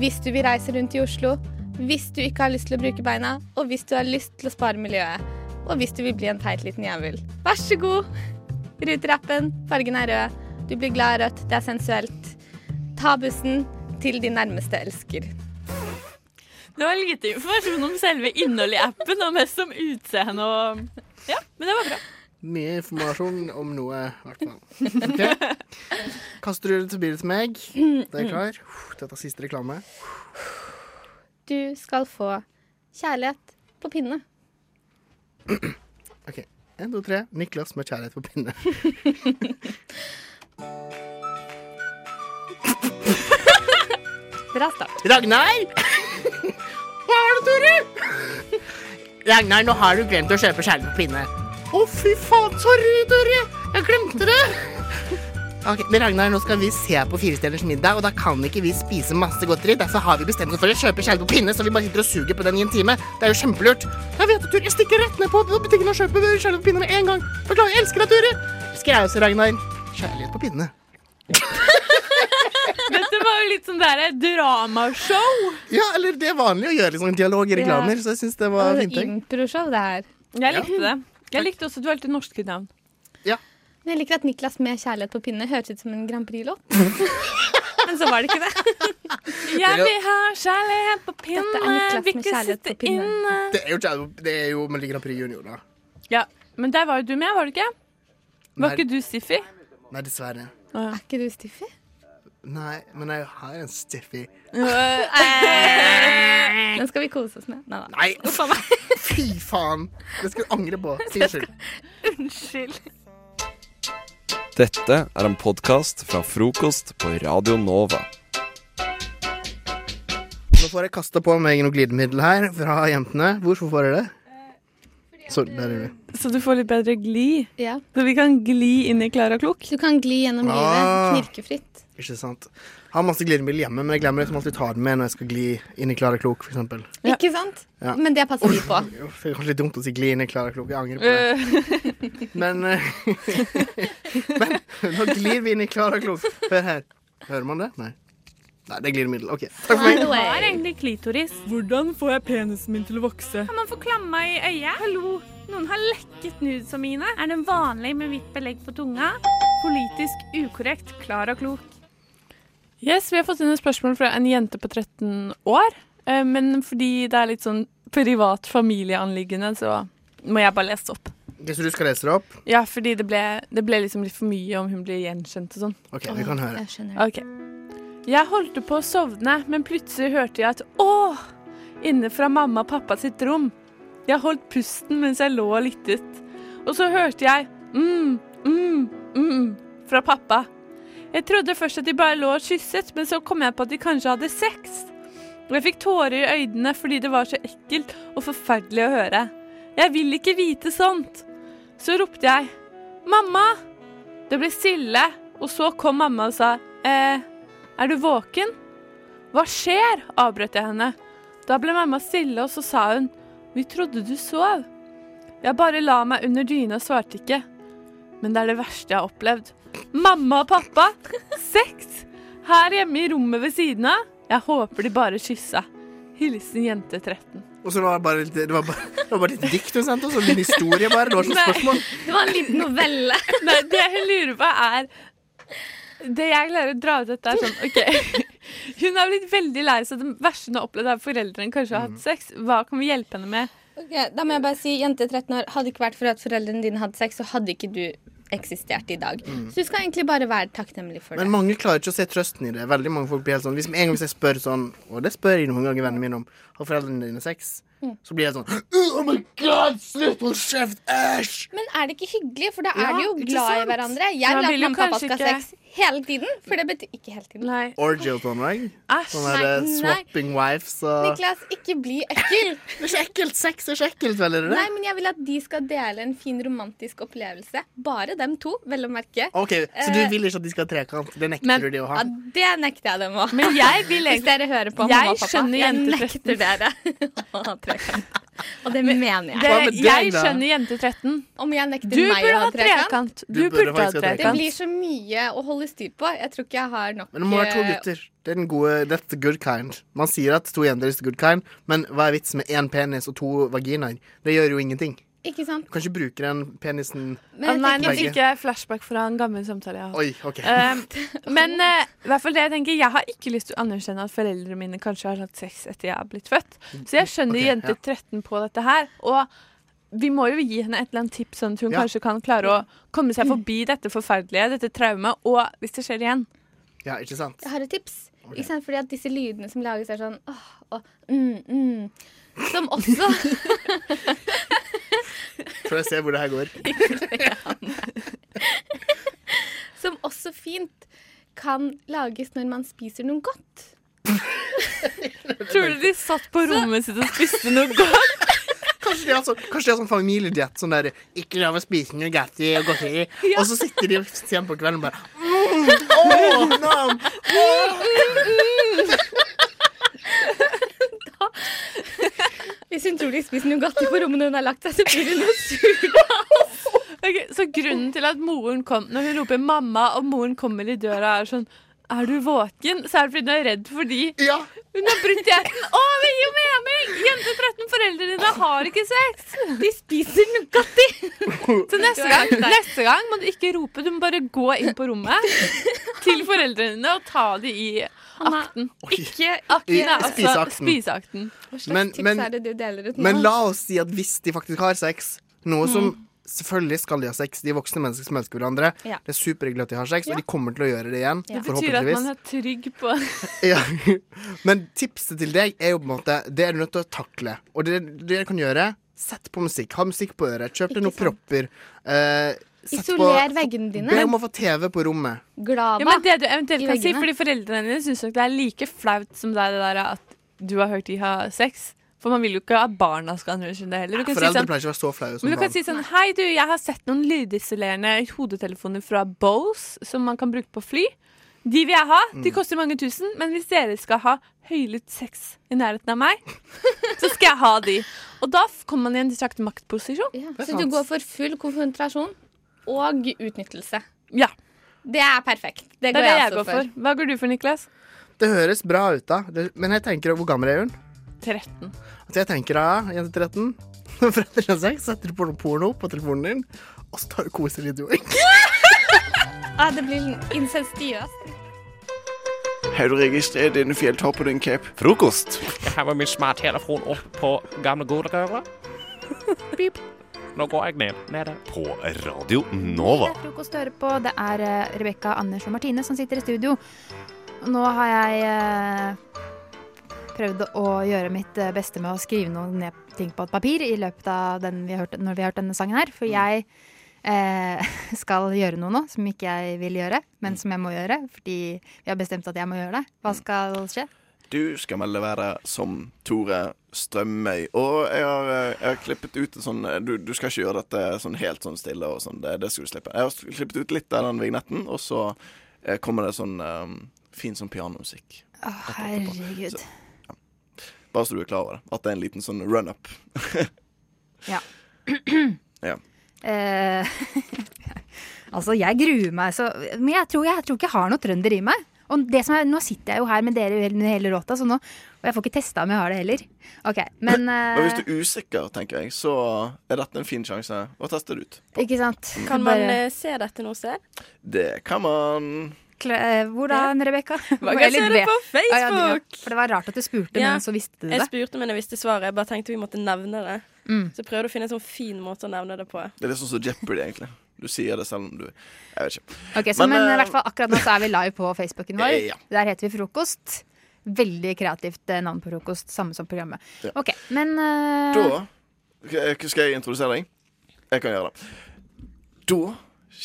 Speaker 12: hvis du vil reise rundt i Oslo, hvis du ikke har lyst til å bruke beina, og hvis du har lyst til å spare miljøet. Og hvis du vil bli en feit liten jævel. Vær så god. Ruter-appen. Fargen er rød. Du blir glad i rødt. Det er sensuelt. Ta bussen til din nærmeste elsker.
Speaker 18: Det var lite informasjon om selve innholdet i appen, og mest om utseende og Ja, men det var bra.
Speaker 20: Mye informasjon om noe, i hvert fall. Ok. Kaster du det til meg? Det er klar. Dette er siste reklame.
Speaker 12: Du skal få kjærlighet på pinne.
Speaker 20: OK. Én, to, tre. Niklas med kjærlighet på pinne.
Speaker 12: Bra start.
Speaker 20: Ragnar! Hva er det, Tore? Ragnar, nå har du glemt å kjøpe kjærlighet på pinne. Å, fy faen. Sorry, Tore. Jeg glemte det. Ok, men Ragnar, nå skal vi se på Firestjerners middag, og da kan ikke vi spise masse godteri. Derfor har vi bestemt oss for å kjøpe kjærlighet på pinne, så vi bare sitter og suger på den i en time. Det er jo kjempelurt. Jeg vet det, Tore. Jeg stikker rett ned på butikken og kjøper kjærlighet på pinne med en gang. Beklager. Jeg elsker deg, Tore. Elsker jeg også, Ragnar. Kjærlighet på pinne.
Speaker 18: Dette var jo litt sånn derre dramashow.
Speaker 20: Ja, eller det er vanlig å gjøre liksom, dialog i reklamer,
Speaker 12: Ja.
Speaker 20: så jeg syns det var fint. tenkt.
Speaker 12: Improshow, det her.
Speaker 18: Jeg likte det. Jeg likte også at du valgte norske navn.
Speaker 12: Men jeg liker at Niklas med kjærlighet på pinne høres ut som en Grand Prix-låt. Men så var det ikke det.
Speaker 18: Jeg vil ha kjærlighet på
Speaker 12: Dette er
Speaker 18: pinne,
Speaker 12: Niklas med
Speaker 18: vil ikke
Speaker 12: kjærlighet
Speaker 18: sitte
Speaker 12: på pinne.
Speaker 18: inne.
Speaker 20: Det er jo, kjærlighet- det er jo Melodi Grand Prix Junior, da.
Speaker 18: Ja, Men der var jo du med, var du ikke?
Speaker 20: Nei.
Speaker 18: Var ikke du Siffi?
Speaker 20: Nei, dessverre.
Speaker 12: Er ikke du Stiffi?
Speaker 20: Nei, men jeg har en stiffy.
Speaker 12: eh, Den skal vi kose oss med. Nei da.
Speaker 20: Nei, fy faen! Det skal du angre på. Si Unnskyld.
Speaker 18: Unnskyld.
Speaker 1: Dette er en podkast fra frokost på Radio Nova.
Speaker 20: Nå får jeg kasta på meg noe glidemiddel her fra jentene. Hvorfor får jeg det? Så, der er det.
Speaker 18: Så du får litt bedre gli.
Speaker 12: Ja.
Speaker 18: Så vi kan gli inn i Klara Klok.
Speaker 12: Du kan gli gjennom
Speaker 20: Ah.
Speaker 12: livet knirkefritt.
Speaker 20: Ikke sant. Jeg har masse glidemiddel hjemme, men jeg glemmer liksom alltid å ta det med når jeg skal gli inn i Klara Klok, f.eks.
Speaker 12: Ikke sant?
Speaker 20: Ja.
Speaker 12: Men det passer vi på.
Speaker 20: Det er kanskje litt dumt å si gli inn i Klara Klok. Jeg angrer
Speaker 18: Eh.
Speaker 20: på det. Men, eh, men nå glir vi inn i Klara Klok. Hør her. Hører man det? Nei. Nei, det er glidemiddel. OK. Takk for meg.
Speaker 18: Du har egentlig klitoris. Hvordan får jeg penisen min til å vokse?
Speaker 11: Kan man få klamma i øyet? Hallo, noen har lekket nudes av mine. Er den vanlig med hvitt belegg på tunga? Politisk ukorrekt, klar og klok.
Speaker 18: Yes, Vi har fått inn et spørsmål fra en jente på 13 år. Eh, Men fordi det er litt sånn privat familieanliggende, så må jeg bare lese det opp.
Speaker 20: Hvis du skal lese det opp
Speaker 18: Ja, fordi det ble, det ble liksom litt for mye om hun blir gjenkjent og sånn.
Speaker 20: OK, vi kan høre.
Speaker 18: Ok. Jeg holdt på å sovne, men plutselig hørte jeg et åh inne fra mamma og pappa sitt rom. Jeg holdt pusten mens jeg lå og lyttet. Og så hørte jeg mm, mm, mm fra pappa. Jeg trodde først at de bare lå og kysset, men så kom jeg på at de kanskje hadde sex. Og jeg fikk tårer i øynene fordi det var så ekkelt og forferdelig å høre. Jeg vil ikke vite sånt. Så ropte jeg mamma. Det ble stille, og så kom mamma og sa eh, er du våken? Hva skjer? avbrøt jeg henne. Da ble mamma stille, og så sa hun vi trodde du sov. Jeg bare la meg under dyna og svarte ikke. Men det er det verste jeg har opplevd. Mamma og pappa! Sex! Her hjemme i rommet ved siden av. Jeg håper de bare kyssa. Hilsen jente 13.
Speaker 20: Og så var det bare, det var bare, det var bare et dikt hun sendte, og så en liten historie bare. Det var ikke noe
Speaker 18: Nei.
Speaker 20: spørsmål.
Speaker 12: Det var en liten novelle.
Speaker 18: Nei, det jeg lurer på er Det jeg klarer å dra ut dette, er sånn OK. Hun har blitt veldig lei seg. Det verste hun har opplevd, er at foreldrene kanskje
Speaker 20: Mm.
Speaker 18: har hatt sex. Hva kan vi hjelpe henne med?
Speaker 12: Ok, da må jeg bare si, jente 13 år, hadde det ikke vært for at foreldrene dine hadde sex, så hadde ikke du eksistert i dag.
Speaker 20: Mm.
Speaker 12: Så du skal egentlig bare være takknemlig for det.
Speaker 20: Men mange klarer ikke å se trøsten i det. Veldig mange folk blir helt sånn Hvis med en gang jeg spør sånn, og det spør jeg noen ganger vennene mine om, har foreldrene dine sex?
Speaker 12: Mm.
Speaker 20: Så blir jeg sånn Oh my god, slutt, hold kjeft, æsj!
Speaker 12: Men er det ikke hyggelig? For da er
Speaker 20: Ja,
Speaker 12: de jo
Speaker 20: ikke
Speaker 12: glad i
Speaker 20: sant?
Speaker 12: hverandre.
Speaker 20: Man
Speaker 12: Jeg vil at
Speaker 20: vil jo
Speaker 12: mamma og pappa
Speaker 20: kanskje
Speaker 12: skal ha
Speaker 20: ikke-
Speaker 12: sex hele tiden. For det betyr Ikke hele tiden.
Speaker 20: Orgy og sånn, right?
Speaker 12: Æsj.
Speaker 20: Sånn der
Speaker 12: Nei,
Speaker 20: eh,
Speaker 12: nei.
Speaker 20: swapping wives og
Speaker 12: Niklas, ikke bli ekkel.
Speaker 20: det er ikke ekkelt. Sex er ikke ekkelt, vel? Er det det?
Speaker 12: Nei, men jeg vil at de skal dele en fin romantisk opplevelse. Bare dem to, vel å merke.
Speaker 20: OK, så du
Speaker 12: Eh,
Speaker 20: vil ikke at de skal ha trekant? Det nekter
Speaker 12: men-
Speaker 20: du de å ha?
Speaker 12: Ja, det nekter jeg dem å ha.
Speaker 18: Men jeg vil
Speaker 12: Hvis dere hører på
Speaker 18: Jeg
Speaker 12: mamma og pappa.
Speaker 18: skjønner
Speaker 12: jeg
Speaker 18: jente
Speaker 12: nekter dere å ha trekant. Og det mener jeg.
Speaker 18: Det, jeg skjønner jente 13.
Speaker 12: Om jeg nekter
Speaker 18: Du
Speaker 12: meg
Speaker 18: burde
Speaker 12: å ha
Speaker 18: ha trekant. Du burde ha
Speaker 12: Det
Speaker 18: trekant.
Speaker 12: blir så mye å holde styr på. Jeg tror ikke jeg har nok
Speaker 20: Men det må være to
Speaker 12: eh,
Speaker 20: gutter. Det er den gode, that's the good kind. Man sier at to jenter is the good kind, men hva er vitsen med én penis og to vaginaer? Det gjør jo ingenting.
Speaker 12: Ikke sant?
Speaker 20: Du kan ikke bruke den penisen
Speaker 12: Men jeg
Speaker 18: Nei, nå
Speaker 20: Begge.
Speaker 18: fikk jeg flashback fra en gammel samtale jeg har hatt.
Speaker 20: Oi, OK.
Speaker 18: Eh, men eh, i hvert fall det jeg tenker Jeg har ikke lyst til å anerkjenne at foreldrene mine kanskje har hatt sex etter jeg har blitt født. Så jeg skjønner
Speaker 20: Ok,
Speaker 18: jente
Speaker 20: ja.
Speaker 18: 13 på dette her. Og vi må jo gi henne et eller annet tips, sånn at hun
Speaker 20: Ja.
Speaker 18: kanskje kan klare å komme seg forbi dette forferdelige, dette traumet, og hvis det skjer igjen.
Speaker 20: Ja, ikke sant?
Speaker 12: Jeg har et tips. Ikke sant? Fordi at disse lydene som lages, er sånn åh, og mm, mm. Som også
Speaker 20: Tror jeg ser hvor det her går.
Speaker 12: Som også fint kan lages når man spiser noe godt.
Speaker 18: Tror du de satt på rommet sitt og spiste noe godt?
Speaker 20: Kanskje de har sånn, kanskje de har sånn familiediett. Sånn der 'ikke lov å spise Nugatti og godteri'.
Speaker 18: Ja.
Speaker 20: Og så sitter de sent på kvelden og bare mm, åh, nam, mm, mm.
Speaker 12: Hvis hun tror de spiser Nugatti på rommet når hun har lagt seg, så blir hun noe sur.
Speaker 18: Ok, så grunnen til at moren kom Når hun roper 'mamma', og moren kommer i døra og er sånn 'Er du våken?' så er det fordi hun er redd fordi hun har brutt hjerten. Å, det gir jo mening! Jente 13, foreldrene dine har ikke sex.
Speaker 12: De spiser Nugatti.
Speaker 18: Så neste gang, neste gang må du ikke rope, du må bare gå inn på rommet til foreldrene dine og ta de i akten. Ikke akten,
Speaker 20: I-
Speaker 18: er altså
Speaker 20: spiseakten.
Speaker 18: spiseakten.
Speaker 12: Hva
Speaker 20: slags Men- tips men- er
Speaker 12: det du deler ut
Speaker 20: Men la oss si at hvis de faktisk har sex, noe som Selvfølgelig skal de ha sex. De er voksne mennesker som elsker hverandre.
Speaker 18: Ja.
Speaker 20: Det er superhyggelig at de har sex, og de kommer til å gjøre det igjen.
Speaker 18: Det betyr at
Speaker 20: Forhåpentligvis.
Speaker 18: man er trygg på
Speaker 20: Ja. Men tipset til deg er jo på en måte Det er du nødt til å takle. Og det det dere kan gjøre, sett på musikk. Ha musikk på øret. Kjøp
Speaker 12: Ikke
Speaker 20: deg noen
Speaker 12: sant.
Speaker 20: propper. Eh, sett
Speaker 12: Isoler veggene dine.
Speaker 20: Be om å få TV på rommet.
Speaker 12: Glava.
Speaker 18: Ja, men det du eventuelt
Speaker 12: i
Speaker 18: kan si,
Speaker 12: veggene.
Speaker 18: fordi foreldrene dine syns nok det er like flaut som det er det der at du har hørt de ha sex. For man vil jo ikke at barna skal anerkjenne det heller. Du kan si
Speaker 20: Foreldre
Speaker 18: sånn,
Speaker 20: pleier ikke å være så flaue som
Speaker 18: men du kan
Speaker 20: barn.
Speaker 18: si sånn Hei, du, jeg har sett noen lydisolerende hodetelefoner fra Bose som man kan bruke på fly. De vil jeg ha. De
Speaker 20: Mm.
Speaker 18: koster mange tusen. Men hvis dere skal ha høylytt sex i nærheten av meg, så skal jeg ha de. Og da f- kommer man i en distrakt maktposisjon.
Speaker 12: Så du går for full konfrontasjon og utnyttelse.
Speaker 18: Ja.
Speaker 12: Det er perfekt. Det
Speaker 18: Det
Speaker 12: går
Speaker 18: er det
Speaker 12: jeg
Speaker 18: jeg
Speaker 12: også
Speaker 18: går for.
Speaker 12: for.
Speaker 18: Hva går du for, Niklas?
Speaker 20: Det høres bra ut, da. Det, men jeg tenker, hvor gammel er hun?
Speaker 18: 13.
Speaker 20: At jeg tenker, ja, jente 13 Når foreldrene har sex, setter du på noe porno på telefonen din, og så tar du kosevideoer.
Speaker 12: Ja, Ah, det blir insensiøst.
Speaker 16: Har du registrert denne fjelltoppen din, Cape?
Speaker 15: Frokost. Jeg har med min smarttelefon opp på gamle godrøret. Pip. Nå går jeg ned med det.
Speaker 4: På Radio Nova.
Speaker 5: Det er frokost å høre på. Det er eh, Rebekka, Anders og Martine som sitter i studio. Og Nå har jeg eh, prøvd å gjøre mitt eh, beste med å skrive noen ned ting på et papir i løpet av den vi har hørt, når vi har hørt denne sangen her. For jeg eh, skal gjøre noe nå som ikke jeg vil gjøre, men som jeg må gjøre. Fordi vi har bestemt at jeg må gjøre det. Hva skal skje?
Speaker 16: Du skal melde være som Tore Strømøy. Og jeg har, eh, jeg har klippet ut en sånn eh, du, du skal ikke gjøre dette sånn helt sånn stille og sånn. Det, det skal du slippe. Jeg har s- klippet ut litt av den vignetten, og så eh, kommer det sånn eh, fin sånn pianomusikk.
Speaker 5: Å,
Speaker 24: er
Speaker 5: herregud.
Speaker 16: Bare så du er klar over det. At det er en liten sånn run-up.
Speaker 5: Ja.
Speaker 16: ja.
Speaker 5: Eh, altså, jeg gruer meg, så Men jeg tror, jeg tror ikke jeg har noe trønder i meg. Og det som er, nå sitter jeg jo her med dere hele, hele låta, så nå, og jeg får ikke testa om jeg har det heller. Ok, men
Speaker 16: Men hvis
Speaker 5: eh,
Speaker 16: du er usikker, tenker jeg, så er dette en fin sjanse å teste det ut.
Speaker 5: eh, Ikke sant?
Speaker 16: Kan
Speaker 5: Bare-
Speaker 16: man, eh,
Speaker 5: se dette noe sted?
Speaker 16: Det kan man.
Speaker 5: eh, Hvordan, Rebekka?
Speaker 6: Man kan se det på
Speaker 5: Ja, ja, du-
Speaker 6: Facebook.
Speaker 5: for det var rart at du spurte,
Speaker 6: Ja,
Speaker 5: men så visste du det.
Speaker 6: Jeg spurte, men jeg visste svaret. Jeg bare tenkte vi måtte nevne det.
Speaker 5: Mm.
Speaker 6: Så jeg prøvde å finne en sånn fin måte å nevne det på.
Speaker 16: Det er litt sånn som Jeopardy, egentlig. Du sier det selv om du Jeg vet ikke.
Speaker 5: Ok, så, Men, i
Speaker 16: eh,
Speaker 5: hvert fall akkurat nå så er vi live på Facebooken vår.
Speaker 16: Ja.
Speaker 5: Der heter vi Frokost. Veldig kreativt eh, navn på frokost, samme som programmet.
Speaker 16: Ja.
Speaker 5: Ok, men eh,
Speaker 16: Da K- Skal jeg introdusere deg? Jeg kan gjøre det. Da,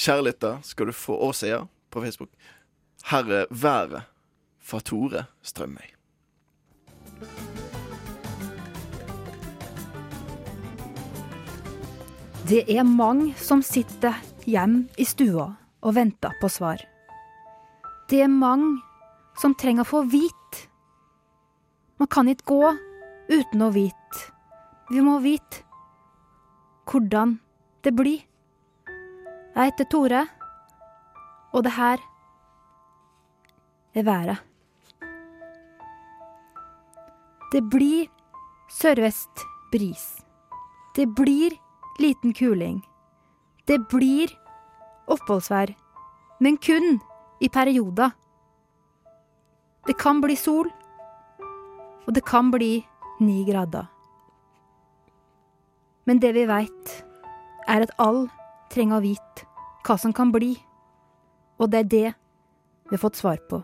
Speaker 16: kjære lytter, skal du få og seer på Facebook. Her er været fra Tore Strømøy.
Speaker 5: Det er mange som sitter hjemme i stua og venter på svar. Det er mange som trenger å få vite. Man kan ikke gå uten å vite. Vi må vite hvordan det blir. Jeg heter Tore, og det her er været. Det blir sørvest bris. Det blir
Speaker 24: liten kuling. Det blir oppholdsvær, men kun i perioder. Det kan bli sol, og det kan bli ni grader. Men det vi veit, er at all trenger å vite hva som kan bli, og det er det vi har fått svar på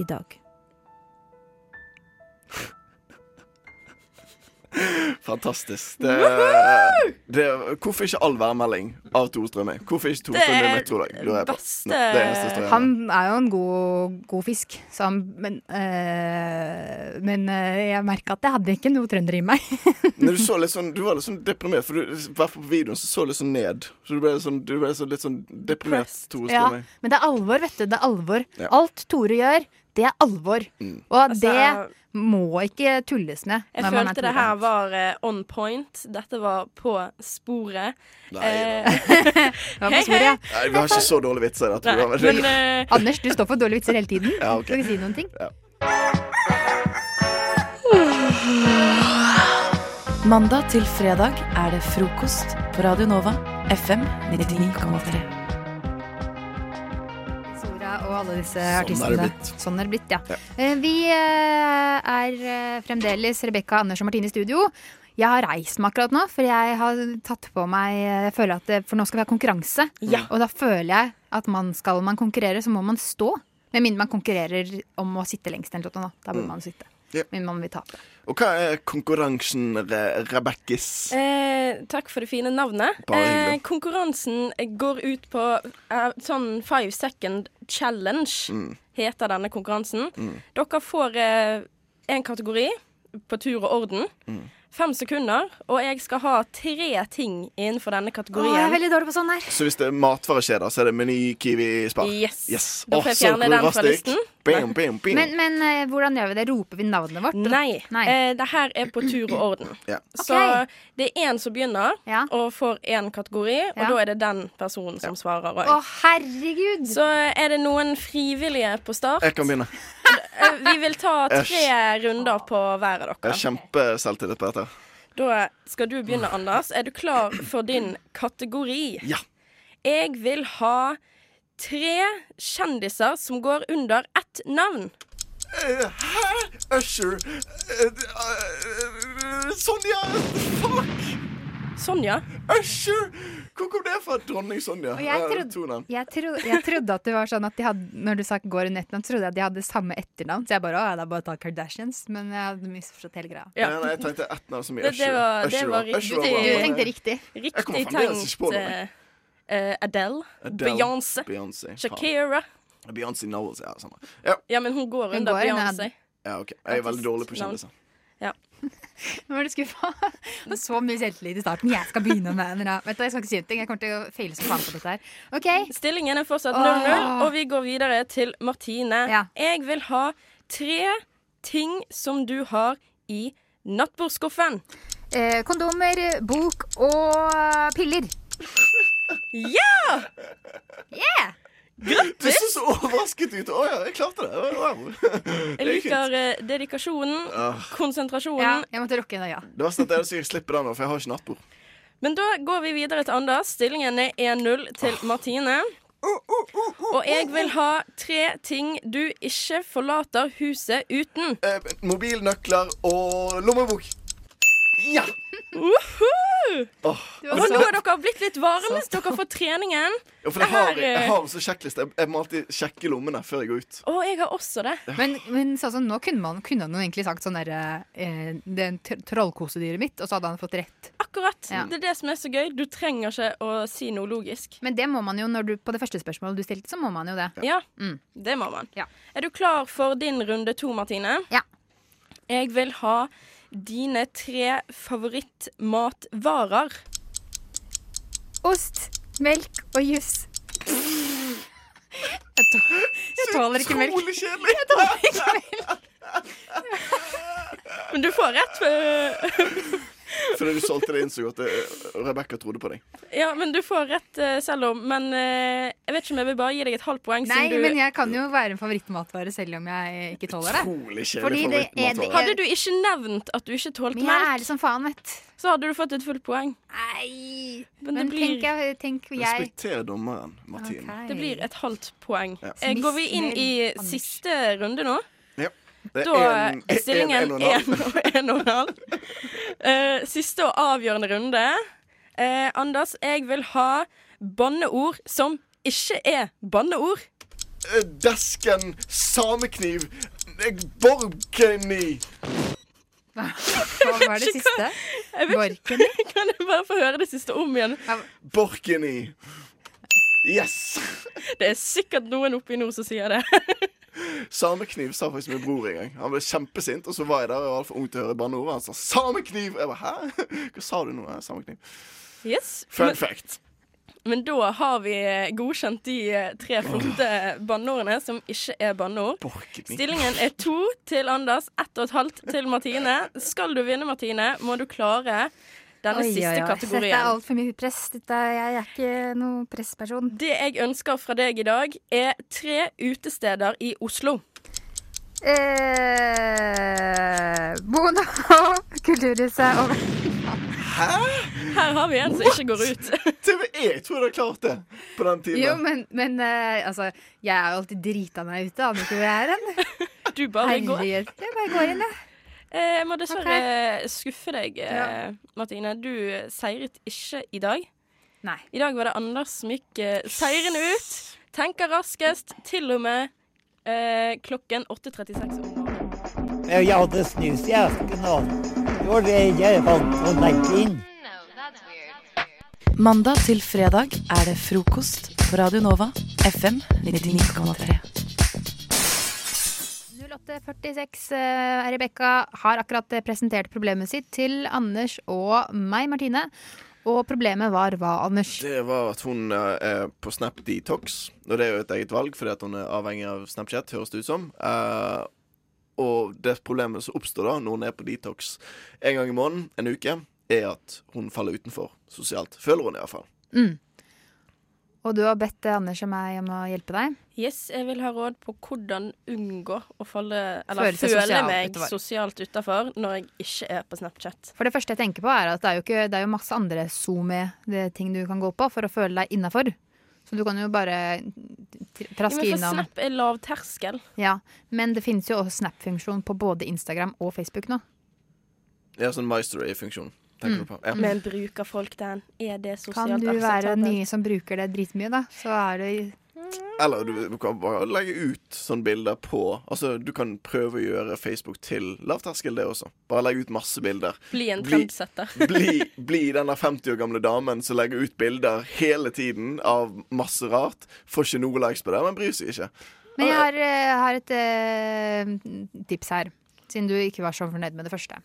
Speaker 24: i dag.
Speaker 16: Fantastisk. Det, det, hvorfor ikke all værmelding av Tore Strømøy? Hvorfor ikke Tore
Speaker 24: Det
Speaker 16: Strømøy
Speaker 24: er
Speaker 16: meteorolog? Lurer jeg på.
Speaker 24: beste-
Speaker 16: Nei, det er eneste historien.
Speaker 5: Eh, Han er jo en god, god fisk, så han, men, eh, men eh, jeg merka at jeg hadde ikke noe trønder i meg.
Speaker 16: Nei, du, så litt sånn, du var litt sånn deprimert, for du, i hvert fall på videoen så, så litt sånn ned. Så du ble, sånn, du ble så litt sånn deprimert. Tore
Speaker 5: Ja,
Speaker 16: Strømøy.
Speaker 5: men det er alvor, vet du. Det er alvor.
Speaker 16: Ja. Mm.
Speaker 5: Alt Tore gjør, det er alvor. Og det må ikke tulles med.
Speaker 6: Altså- Jeg
Speaker 5: når man er
Speaker 6: følte det
Speaker 5: Tore.
Speaker 6: her var eh, on point. Dette var på sporet. Eh,
Speaker 16: Nei,
Speaker 5: var på sporet, ja.
Speaker 16: Nei, vi har ikke så dårlige vitser. da, tror jeg.
Speaker 6: men, eh,
Speaker 5: Anders, du står for dårlige vitser hele tiden.
Speaker 16: Ja, ok.
Speaker 5: Skal ikke si noen ting.
Speaker 17: Mandag til fredag er det frokost på Radio Nova FM 99,3.
Speaker 5: Sora og alle disse
Speaker 17: Sånn
Speaker 5: artistene.
Speaker 17: er det blitt.
Speaker 5: Sånn er det blitt, ja. Eh, Vi eh, er eh, fremdeles Rebekka, Anders og Martine i studio. Jeg har reist meg akkurat nå, for jeg har tatt på meg eh, Jeg føler at det, For nå skal vi ha konkurranse. Og da føler jeg at man skal man konkurrere, så må man stå. Med mindre man konkurrerer om å sitte lengst. Eller noe, da. da bør
Speaker 16: Mm.
Speaker 5: man sitte.
Speaker 16: Ja.
Speaker 5: Men man vil tape.
Speaker 16: Og hva er konkurransen, Re Rebekkis?
Speaker 6: Eh, takk for det fine navnet.
Speaker 16: Bare hyggelig.
Speaker 6: Eh, konkurransen går ut på eh, sånn five second challenge,
Speaker 16: Mm.
Speaker 6: heter denne konkurransen.
Speaker 16: Mm.
Speaker 6: Dere får én kategori på tur og orden.
Speaker 16: Mm.
Speaker 6: Fem sekunder, og jeg skal ha tre ting innenfor denne
Speaker 5: Å,
Speaker 6: kategorien.
Speaker 5: jeg er veldig dårlig på sånn her.
Speaker 16: Så hvis det er matvarekjeder, så er det Meny, Kiwi, Spar?
Speaker 6: Yes. Da
Speaker 16: Å,
Speaker 6: får jeg
Speaker 16: så
Speaker 6: fjerne den fra
Speaker 16: raskt.
Speaker 6: listen.
Speaker 16: Bam, bam, bam.
Speaker 5: Men, men eh, hvordan gjør vi det? Roper vi navnet vårt?
Speaker 6: Nei. Eh, det her er på tur og orden.
Speaker 16: Ja.
Speaker 6: Så det er én som begynner og får én kategori, og
Speaker 5: Ja.
Speaker 6: da er det den personen som svarer òg.
Speaker 5: Å, herregud!
Speaker 6: Så er det noen frivillige på start.
Speaker 16: Jeg kan begynne.
Speaker 6: Eh, Vi vil ta tre
Speaker 16: Æsj.
Speaker 6: runder på hver av
Speaker 16: Jeg
Speaker 6: dere.
Speaker 16: har kjempeselvtillit på dette.
Speaker 6: Da skal du begynne, Anders. Er du klar for din kategori?
Speaker 16: Ja.
Speaker 6: Jeg vil ha tre kjendiser som går under ett navn.
Speaker 16: Eh, Hæ? Usher eh, eh, Sonja! Fuck!
Speaker 6: Sonja?
Speaker 16: Usher! Hvor kom det fra? Dronning Sonja.
Speaker 5: Og jeg
Speaker 16: Eh,
Speaker 5: trodde-
Speaker 16: to navn.
Speaker 5: Jeg, tro, jeg trodde at det var sånn at de hadde Når du sa går under etternavn, trodde jeg at de hadde samme etternavn. Så jeg bare å, ja, det er bare å ta Kardashians. Men jeg hadde misforstått hele greia.
Speaker 16: Nei, nei, jeg tenkte ett navn som i
Speaker 6: Det- det
Speaker 16: Usher.
Speaker 6: var- det
Speaker 16: Usher
Speaker 6: var
Speaker 16: Usher
Speaker 6: riktig.
Speaker 16: bra.
Speaker 6: Du tenkte
Speaker 5: riktig.
Speaker 16: Jeg kommer
Speaker 6: Riktig
Speaker 16: fremdeles ikke på
Speaker 6: tenkt
Speaker 16: noe.
Speaker 6: eh, eh, Adele,
Speaker 16: Adele,
Speaker 6: Beyoncé,
Speaker 16: Beyoncé,
Speaker 6: Shakira.
Speaker 16: faen. Beyoncé Knowles, ja. Samme.
Speaker 6: Ja, men hun går
Speaker 5: Hun
Speaker 6: under
Speaker 5: går under
Speaker 6: Beyoncé.
Speaker 16: Ja, ok. Jeg er veldig dårlig på
Speaker 6: Navn.
Speaker 16: kjendiser.
Speaker 6: Ja.
Speaker 5: Nå var du skuffa. Og så mye selvtillit i starten. Jeg skal begynne med en Vet du, hva, Jeg skal ikke si noe. Jeg kommer til å faile som faen på dette her. OK.
Speaker 6: Stillingen er fortsatt
Speaker 5: Åh.
Speaker 6: 0-0, og vi går videre til Martine. Jeg vil ha tre ting som du har i nattbordskuffen.
Speaker 5: Eh, kondomer, bok og piller.
Speaker 6: Ja!
Speaker 5: Yeah!
Speaker 16: Du så så overrasket ut. Å ja, jeg klarte det. Wow.
Speaker 6: Jeg
Speaker 16: Det er kult.
Speaker 6: liker eh, dedikasjonen,
Speaker 16: Ah.
Speaker 6: konsentrasjonen.
Speaker 5: Ja, jeg måtte rokke inn øya.
Speaker 16: Det verste er at jeg sikkert slipper den nå, for jeg har ikke nattbord.
Speaker 6: Men da går vi videre til Anders. Stillingen er 1-0 til Martine.
Speaker 16: Uh,
Speaker 6: Og jeg vil ha tre ting du ikke forlater huset uten.
Speaker 16: Eh, Mobilnøkler og lommebok. Ja! Åh, altså,
Speaker 6: Og nå har dere blitt litt varme. Dere får treningen.
Speaker 16: Ja, for jeg har,
Speaker 6: Det her, eh,
Speaker 16: jeg har en sånn sjekkliste. Jeg, jeg må alltid sjekke lommene før jeg går ut.
Speaker 6: Å, jeg har også det.
Speaker 5: Men, men sånn som nå kunne man kunne han jo egentlig sagt sånn derre eh, Det er en tr- trollkosedyret mitt, og så hadde han fått rett.
Speaker 6: Akkurat.
Speaker 5: Ja.
Speaker 6: Det er det som er så gøy. Du trenger ikke å si noe logisk.
Speaker 5: Men det må man jo når du på det første spørsmålet du stilte, så må man jo det.
Speaker 6: Ja,
Speaker 5: Mm.
Speaker 6: det må man.
Speaker 5: Ja.
Speaker 6: Er du klar for din runde to, Martine?
Speaker 5: Ja.
Speaker 6: Jeg vil ha dine tre favorittmatvarer.
Speaker 5: Ost, melk og juice. Jeg, tå- jeg tåler ikke melk.
Speaker 16: Utrolig kjedelig.
Speaker 5: Jeg tåler ikke melk.
Speaker 6: Men du får rett.
Speaker 16: Fordi du solgte det inn så godt. Rebekka trodde på deg.
Speaker 6: Ja, men du får rett eh, selv om. Men eh, jeg vet ikke om jeg vil bare gi deg et halvt poeng.
Speaker 5: Nei,
Speaker 6: siden du...
Speaker 5: men jeg kan jo være en favorittmatvare selv om jeg ikke tåler det.
Speaker 16: Utrolig kjedelig
Speaker 5: Fordi det er-
Speaker 16: favorittmatvare.
Speaker 5: det er-
Speaker 6: Hadde du ikke nevnt at du ikke tålte
Speaker 5: Men jeg er
Speaker 6: melk,
Speaker 5: ærlig som faen, vet
Speaker 6: så hadde du fått et fullt poeng.
Speaker 5: Nei
Speaker 6: Men
Speaker 5: Men,
Speaker 6: det blir-
Speaker 5: tenk, jeg, tenk jeg
Speaker 16: Respekter dommeren, Martine.
Speaker 6: Det blir et halvt poeng.
Speaker 16: Ja.
Speaker 6: Eh, Går vi inn i siste runde nå?
Speaker 16: Ja. Det er
Speaker 6: Da
Speaker 16: en-
Speaker 6: er stillingen
Speaker 16: en- en og en halv.
Speaker 6: 1 og en halv. Eh, Siste og avgjørende runde. Eh, Anders, jeg vil ha banneord som ikke er banneord.
Speaker 16: Eh, Desken, samekniv, eh, borgeni.
Speaker 5: Hva var det siste? Borken?
Speaker 6: Kan jeg bare få høre det siste om igjen?
Speaker 16: Borkeni. Yes!
Speaker 6: Det er sikkert noen oppe i nord som sier det.
Speaker 16: Samekniv sa faktisk min bror en gang. Han ble kjempesint, og så var jeg der og var altfor ung til å høre banneordet. Han sa 'samekniv'. Jeg bare 'hæ? Hva sa du nå?' «Hæ, Samekniv.
Speaker 6: Yes.
Speaker 16: Fun
Speaker 6: Men-
Speaker 16: fact.
Speaker 6: Men da har vi godkjent de eh, tre flotte banneordene som ikke er banneord. Stillingen er to til Anders, ett og et halvt til Martine. Skal du vinne, Martine, må du klare denne
Speaker 5: Oi, oi,
Speaker 6: siste
Speaker 5: oi. Dette er
Speaker 6: kategorien.
Speaker 5: altfor mye press. Dette, er- jeg er ikke noen pressperson.
Speaker 6: Det jeg ønsker fra deg i dag, er tre utesteder i Oslo.
Speaker 5: Eh, Bono, Kulturhuset og
Speaker 6: Her har vi en som ikke går ut.
Speaker 16: Jeg tror du har klart det på den tiden.
Speaker 5: Jo, men, men eh, altså, jeg er jo alltid drita meg ute. Aner ikke hvor jeg er hen.
Speaker 6: Du bare går.
Speaker 5: Herregud, Jeg bare går inn, jeg.
Speaker 6: Eh, Jeg må dessverre skuffe deg, eh, Martine. Du seiret ikke i dag.
Speaker 5: Nei.
Speaker 6: I dag var det Anders som gikk eh, seirende ut. Tenker raskest, til og med eh, klokken 8.36 om morgenen.
Speaker 25: Jeg hadde snus i esken, og det var det jeg fant å legge inn.
Speaker 17: Mandag til fredag er det frokost på Radio Nova FM 99,3.
Speaker 5: 08.46. eh, Rebekka har akkurat eh, presentert problemet sitt til Anders og meg, Martine. Og problemet var hva, Anders?
Speaker 16: Det var at hun eh, er på Snap Detox, og det er jo et eget valg fordi at hun er avhengig av Snapchat, høres det ut som. Eh, og det problemet som oppstår da når hun er på detox en gang i måneden, en uke, er at hun faller utenfor sosialt. Føler hun iallfall.
Speaker 5: Mm. Og du har bedt eh, Anders og meg om å hjelpe deg.
Speaker 6: Yes, jeg vil ha råd på hvordan unngå å falle Eller
Speaker 5: Føle seg
Speaker 6: føle
Speaker 5: sosialt
Speaker 6: meg
Speaker 5: utenfor.
Speaker 6: sosialt utafor når jeg ikke er på Snapchat.
Speaker 5: For det første jeg tenker på er at det er jo, ikke, det er jo masse andre SoMe-ting du kan gå på for å føle deg innafor. Så du kan jo bare t-
Speaker 6: Ja,
Speaker 5: traske
Speaker 6: men for
Speaker 5: innom.
Speaker 6: Snap er lav terskel.
Speaker 5: Ja, Men det finnes jo også Snap-funksjon på både Instagram og Facebook nå.
Speaker 16: Det er sånn My Story-funksjon. tenker
Speaker 5: Mm.
Speaker 16: du på. Ja.
Speaker 6: Men bruker folk den? Er det sosialt
Speaker 5: Kan du være
Speaker 6: akseptabelt?
Speaker 5: den nye som bruker det dritmye, da? Så er det
Speaker 16: Eller du, du kan bare legge ut sånne bilder på Altså, du kan prøve å gjøre Facebook til lavterskel, det også. Bare legge ut masse bilder.
Speaker 6: Bli en trendsetter.
Speaker 16: bli, bli den der 50 år gamle damen som legger ut bilder hele tiden av masse rart. Får ikke noe likes på det, men bryr seg ikke.
Speaker 5: Men jeg har, eh, har et eh, tips her. Siden du ikke var så fornøyd med det første.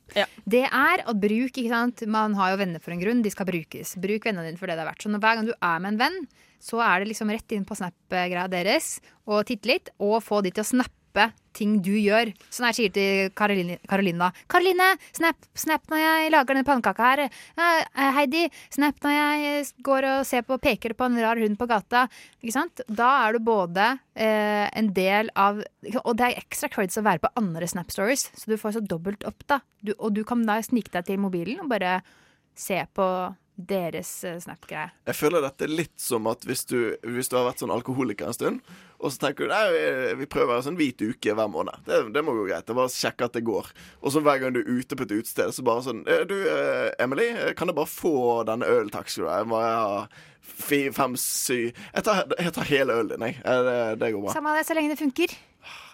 Speaker 5: Det er at bruk, ikke sant. Man har jo venner for en grunn, de skal brukes. Bruk vennene dine for det det er verdt. Så når, hver gang du er med en venn, så er det liksom rett inn på Snap-greia deres og titte litt, og få de til å snappe ting du gjør. Sånn her sier til Karoline Karolina. Karoline, snap, snap når jeg lager denne pannekaka her. Eh, eh, Heidi, snap når jeg eh, går og ser på peker på en rar hund på gata. Ikke sant? Da er du både eh, en del av Og det er ekstra credits å være på andre Snap Stories, så du får så dobbelt opp, da. Du, og du kan da snike deg til mobilen og bare se på deres eh, Snap-greie.
Speaker 16: Jeg føler dette er litt som at hvis du, hvis du har vært sånn alkoholiker en stund, og så tenker du nei, vi- vi prøver en sånn hvit uke hver måned. Det, det må gå greit. Jeg bare sjekker at det går. Og så hver gang du er ute på et utested, så bare sånn «Eh, Du, eh, Emily, eh, kan jeg bare få denne ølen, takk skal du ha? Jeg må ha fi- fem, syv Jeg tar, jeg tar hele ølen din, jeg. Eh, Det, det går bra.
Speaker 5: Samme av det, så lenge det funker.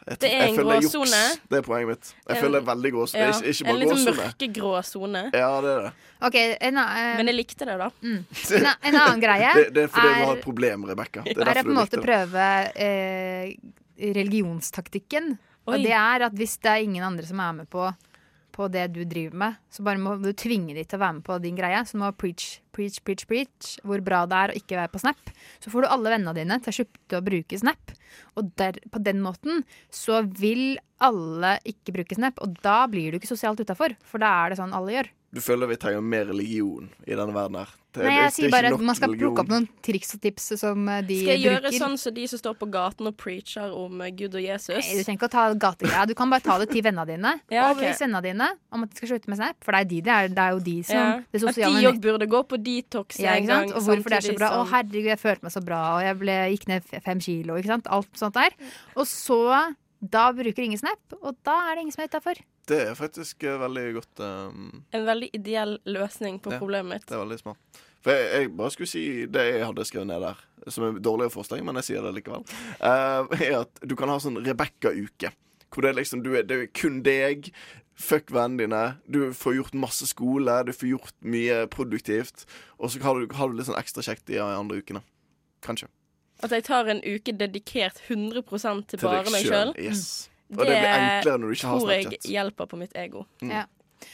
Speaker 16: Jeg,
Speaker 6: Det er
Speaker 16: jeg
Speaker 6: en
Speaker 16: føler juks.
Speaker 6: gråsone.
Speaker 16: Det er poenget mitt. Jeg
Speaker 6: En-
Speaker 16: føler det er veldig gråsone.
Speaker 6: Ja,
Speaker 16: Ikke, ikke bare
Speaker 6: en litt sånn
Speaker 16: gråsone.
Speaker 6: mørkegrå sone.
Speaker 16: Ja, det er det.
Speaker 6: Men jeg likte det, da.
Speaker 5: eh, mm. En, a- en annen greie
Speaker 16: det, det er fordi du har
Speaker 5: er,
Speaker 16: et problem, Rebekka.
Speaker 5: er,
Speaker 16: Det
Speaker 5: å
Speaker 16: er
Speaker 5: på
Speaker 16: derfor
Speaker 5: en
Speaker 16: du
Speaker 5: måte
Speaker 16: likte det.
Speaker 5: prøve eh, religionstaktikken.
Speaker 6: Oi.
Speaker 5: Og det er at hvis det er ingen andre som er med på, på det du driver med, så bare må du tvinge de til å være med på din greie. Så du må preach, preach, preach, preach hvor bra det er å ikke være på Snap. Så får du alle vennene dine til å slutte å bruke Snap. Og der, på den måten så vil alle ikke bruke Snap, og da blir du ikke sosialt utafor. For da er det sånn alle gjør.
Speaker 16: Du føler vi trenger mer religion i denne verden her.
Speaker 5: Nei,
Speaker 16: Det- det-
Speaker 5: jeg
Speaker 16: det er
Speaker 5: sier
Speaker 16: ikke
Speaker 5: bare at
Speaker 16: nok
Speaker 5: man skal
Speaker 16: religion.
Speaker 5: plukke opp noen triks og tips som eh, de
Speaker 6: Skal jeg gjøre
Speaker 5: bruker.
Speaker 6: sånn som de som står på gaten og preacher om eh, Gud og Jesus?
Speaker 5: Nei, du trenger ikke å ta gategreia. Du kan bare ta det til vennene dine.
Speaker 6: Ja,
Speaker 5: Og
Speaker 6: ok.
Speaker 5: hvis vennene dine om at de skal slutte med Snap, for det er, de, det er, det er jo de som
Speaker 6: Ja.
Speaker 5: sånn. det
Speaker 6: At
Speaker 5: sosiale
Speaker 6: de òg
Speaker 5: nett-
Speaker 6: burde gå på detox
Speaker 5: ja,
Speaker 6: en
Speaker 5: ikke
Speaker 6: gang.
Speaker 5: sant? Og hvorfor det er så
Speaker 6: samtidig
Speaker 5: bra. Å,
Speaker 6: som-
Speaker 5: herregud, jeg følte meg så bra, og jeg ble, gikk ned f- fem kilo, ikke sant. Alt sånt der.
Speaker 6: Mm.
Speaker 5: Og så da bruker ingen Snap, og da er det ingen som er utafor.
Speaker 16: Det er faktisk eh, veldig godt ehm,
Speaker 6: En veldig ideell løsning på
Speaker 16: Ja,
Speaker 6: problemet mitt.
Speaker 16: Det er veldig smart. For jeg, jeg bare skulle si det jeg hadde skrevet ned der, som er dårligere forslag, men jeg sier det likevel, eh, er at du kan ha sånn Rebekka-uke. Hvor det er liksom du er, det er kun deg. Fuck vennene dine. Du får gjort masse skole, du får gjort mye produktivt. Og så har du, har du litt sånn ekstra kjekt de andre ukene. Kanskje.
Speaker 6: At jeg tar en uke dedikert 100 til
Speaker 16: Til deg
Speaker 6: bare meg
Speaker 16: selv,
Speaker 6: sjøl.
Speaker 16: yes. Og det blir enklere når du ikke har Mm.
Speaker 6: Tror
Speaker 16: Snapchat.
Speaker 6: jeg hjelper på mitt ego.
Speaker 5: Ja.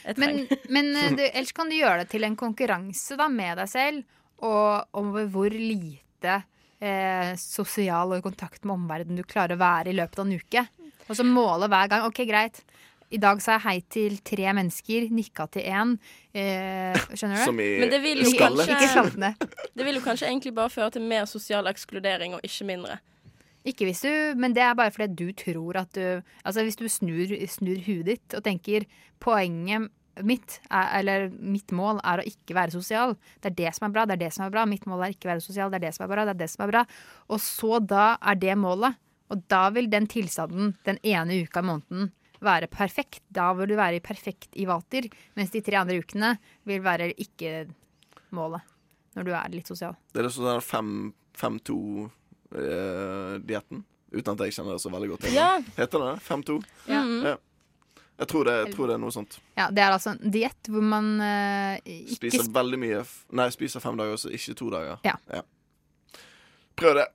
Speaker 6: Jeg
Speaker 5: Men, men eh, du, ellers kan du gjøre det til en konkurranse da, med deg selv og om hvor lite eh, sosial og i kontakt med omverdenen du klarer å være i løpet av en uke. Og så måle hver gang. OK, greit. I dag sa jeg hei til tre mennesker, nikka til én. Eh, skjønner du?
Speaker 16: Som i
Speaker 6: Men det vil jo
Speaker 16: skallet.
Speaker 6: kanskje-
Speaker 5: Ikke skaltene.
Speaker 6: Det vil jo kanskje egentlig bare føre til mer sosial ekskludering, og ikke mindre.
Speaker 5: Ikke hvis du, men det er bare fordi du tror at du Altså hvis du snur, snur huet ditt og tenker poenget mitt, er, eller mitt mål er å ikke være sosial. Det er det som er bra, det er det som er bra. Mitt mål er ikke være sosial, det er det som er bra, det er det som er bra. Og så da er det målet. Og da vil den tilstanden den ene uka i måneden være perfekt. Da vil du være i perfekt i vater, mens de tre andre ukene vil være ikke målet. Når du er litt sosial.
Speaker 16: Det er liksom den 5-2-dietten. eh, Uten at jeg kjenner det så veldig godt. til.
Speaker 5: Ja.
Speaker 16: Heter det det? 5-2?
Speaker 5: Ja.
Speaker 16: Ja. Jeg tror det, jeg tror det er noe sånt.
Speaker 5: Ja, det er altså en diett hvor man eh, ikke
Speaker 16: Spiser veldig mye f- Nei, spiser fem dager, så ikke to dager.
Speaker 5: Ja.
Speaker 16: Prøv det.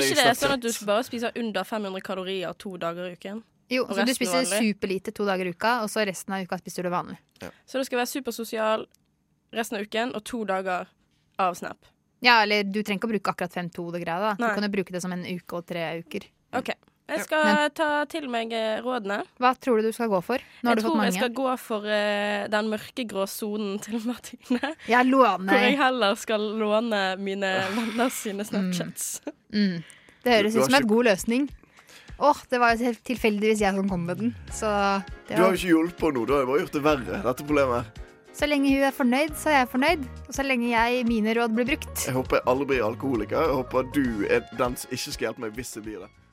Speaker 6: ikke det er
Speaker 16: i Snapchat.
Speaker 6: sånn at du bare spiser under 500 kalorier to dager i uken?
Speaker 5: Jo,
Speaker 6: og
Speaker 5: så du
Speaker 6: resten
Speaker 5: spiser
Speaker 6: vanlig?
Speaker 5: superlite to dager i uka, og så resten av uka spiser du vanlig.
Speaker 6: Så du skal være supersosial resten av uken og to dager av Snap.
Speaker 5: Ja, eller du trenger ikke å bruke akkurat 5-2 og greier, da.
Speaker 6: Nei.
Speaker 5: Du kan jo bruke det som en uke og tre uker.
Speaker 6: OK. Jeg skal ta til meg eh, rådene.
Speaker 5: Hva tror du du skal gå for? Nå har
Speaker 6: Jeg
Speaker 5: du fått
Speaker 6: tror jeg
Speaker 5: mange.
Speaker 6: skal gå for eh, den mørkegrå sonen til Martine.
Speaker 5: Jeg
Speaker 6: Hvor jeg
Speaker 5: låner.
Speaker 6: heller skal låne mine venner sine Snapchats.
Speaker 5: Mm. Det høres
Speaker 16: Du- du
Speaker 5: ut som
Speaker 16: har ikke-
Speaker 5: en god løsning. Åh, det var jo helt tilfeldigvis jeg som kom med den. Så,
Speaker 16: Du
Speaker 5: det
Speaker 16: har
Speaker 5: var...
Speaker 16: jo ikke hjulpet på noe. Du har jo bare gjort det verre, dette problemet.
Speaker 5: så lenge hun er fornøyd, så er jeg fornøyd. Og så lenge jeg, mine råd blir brukt.
Speaker 16: Jeg håper jeg aldri blir alkoholiker. Jeg håper du er den som ikke skal hjelpe meg hvis jeg blir det.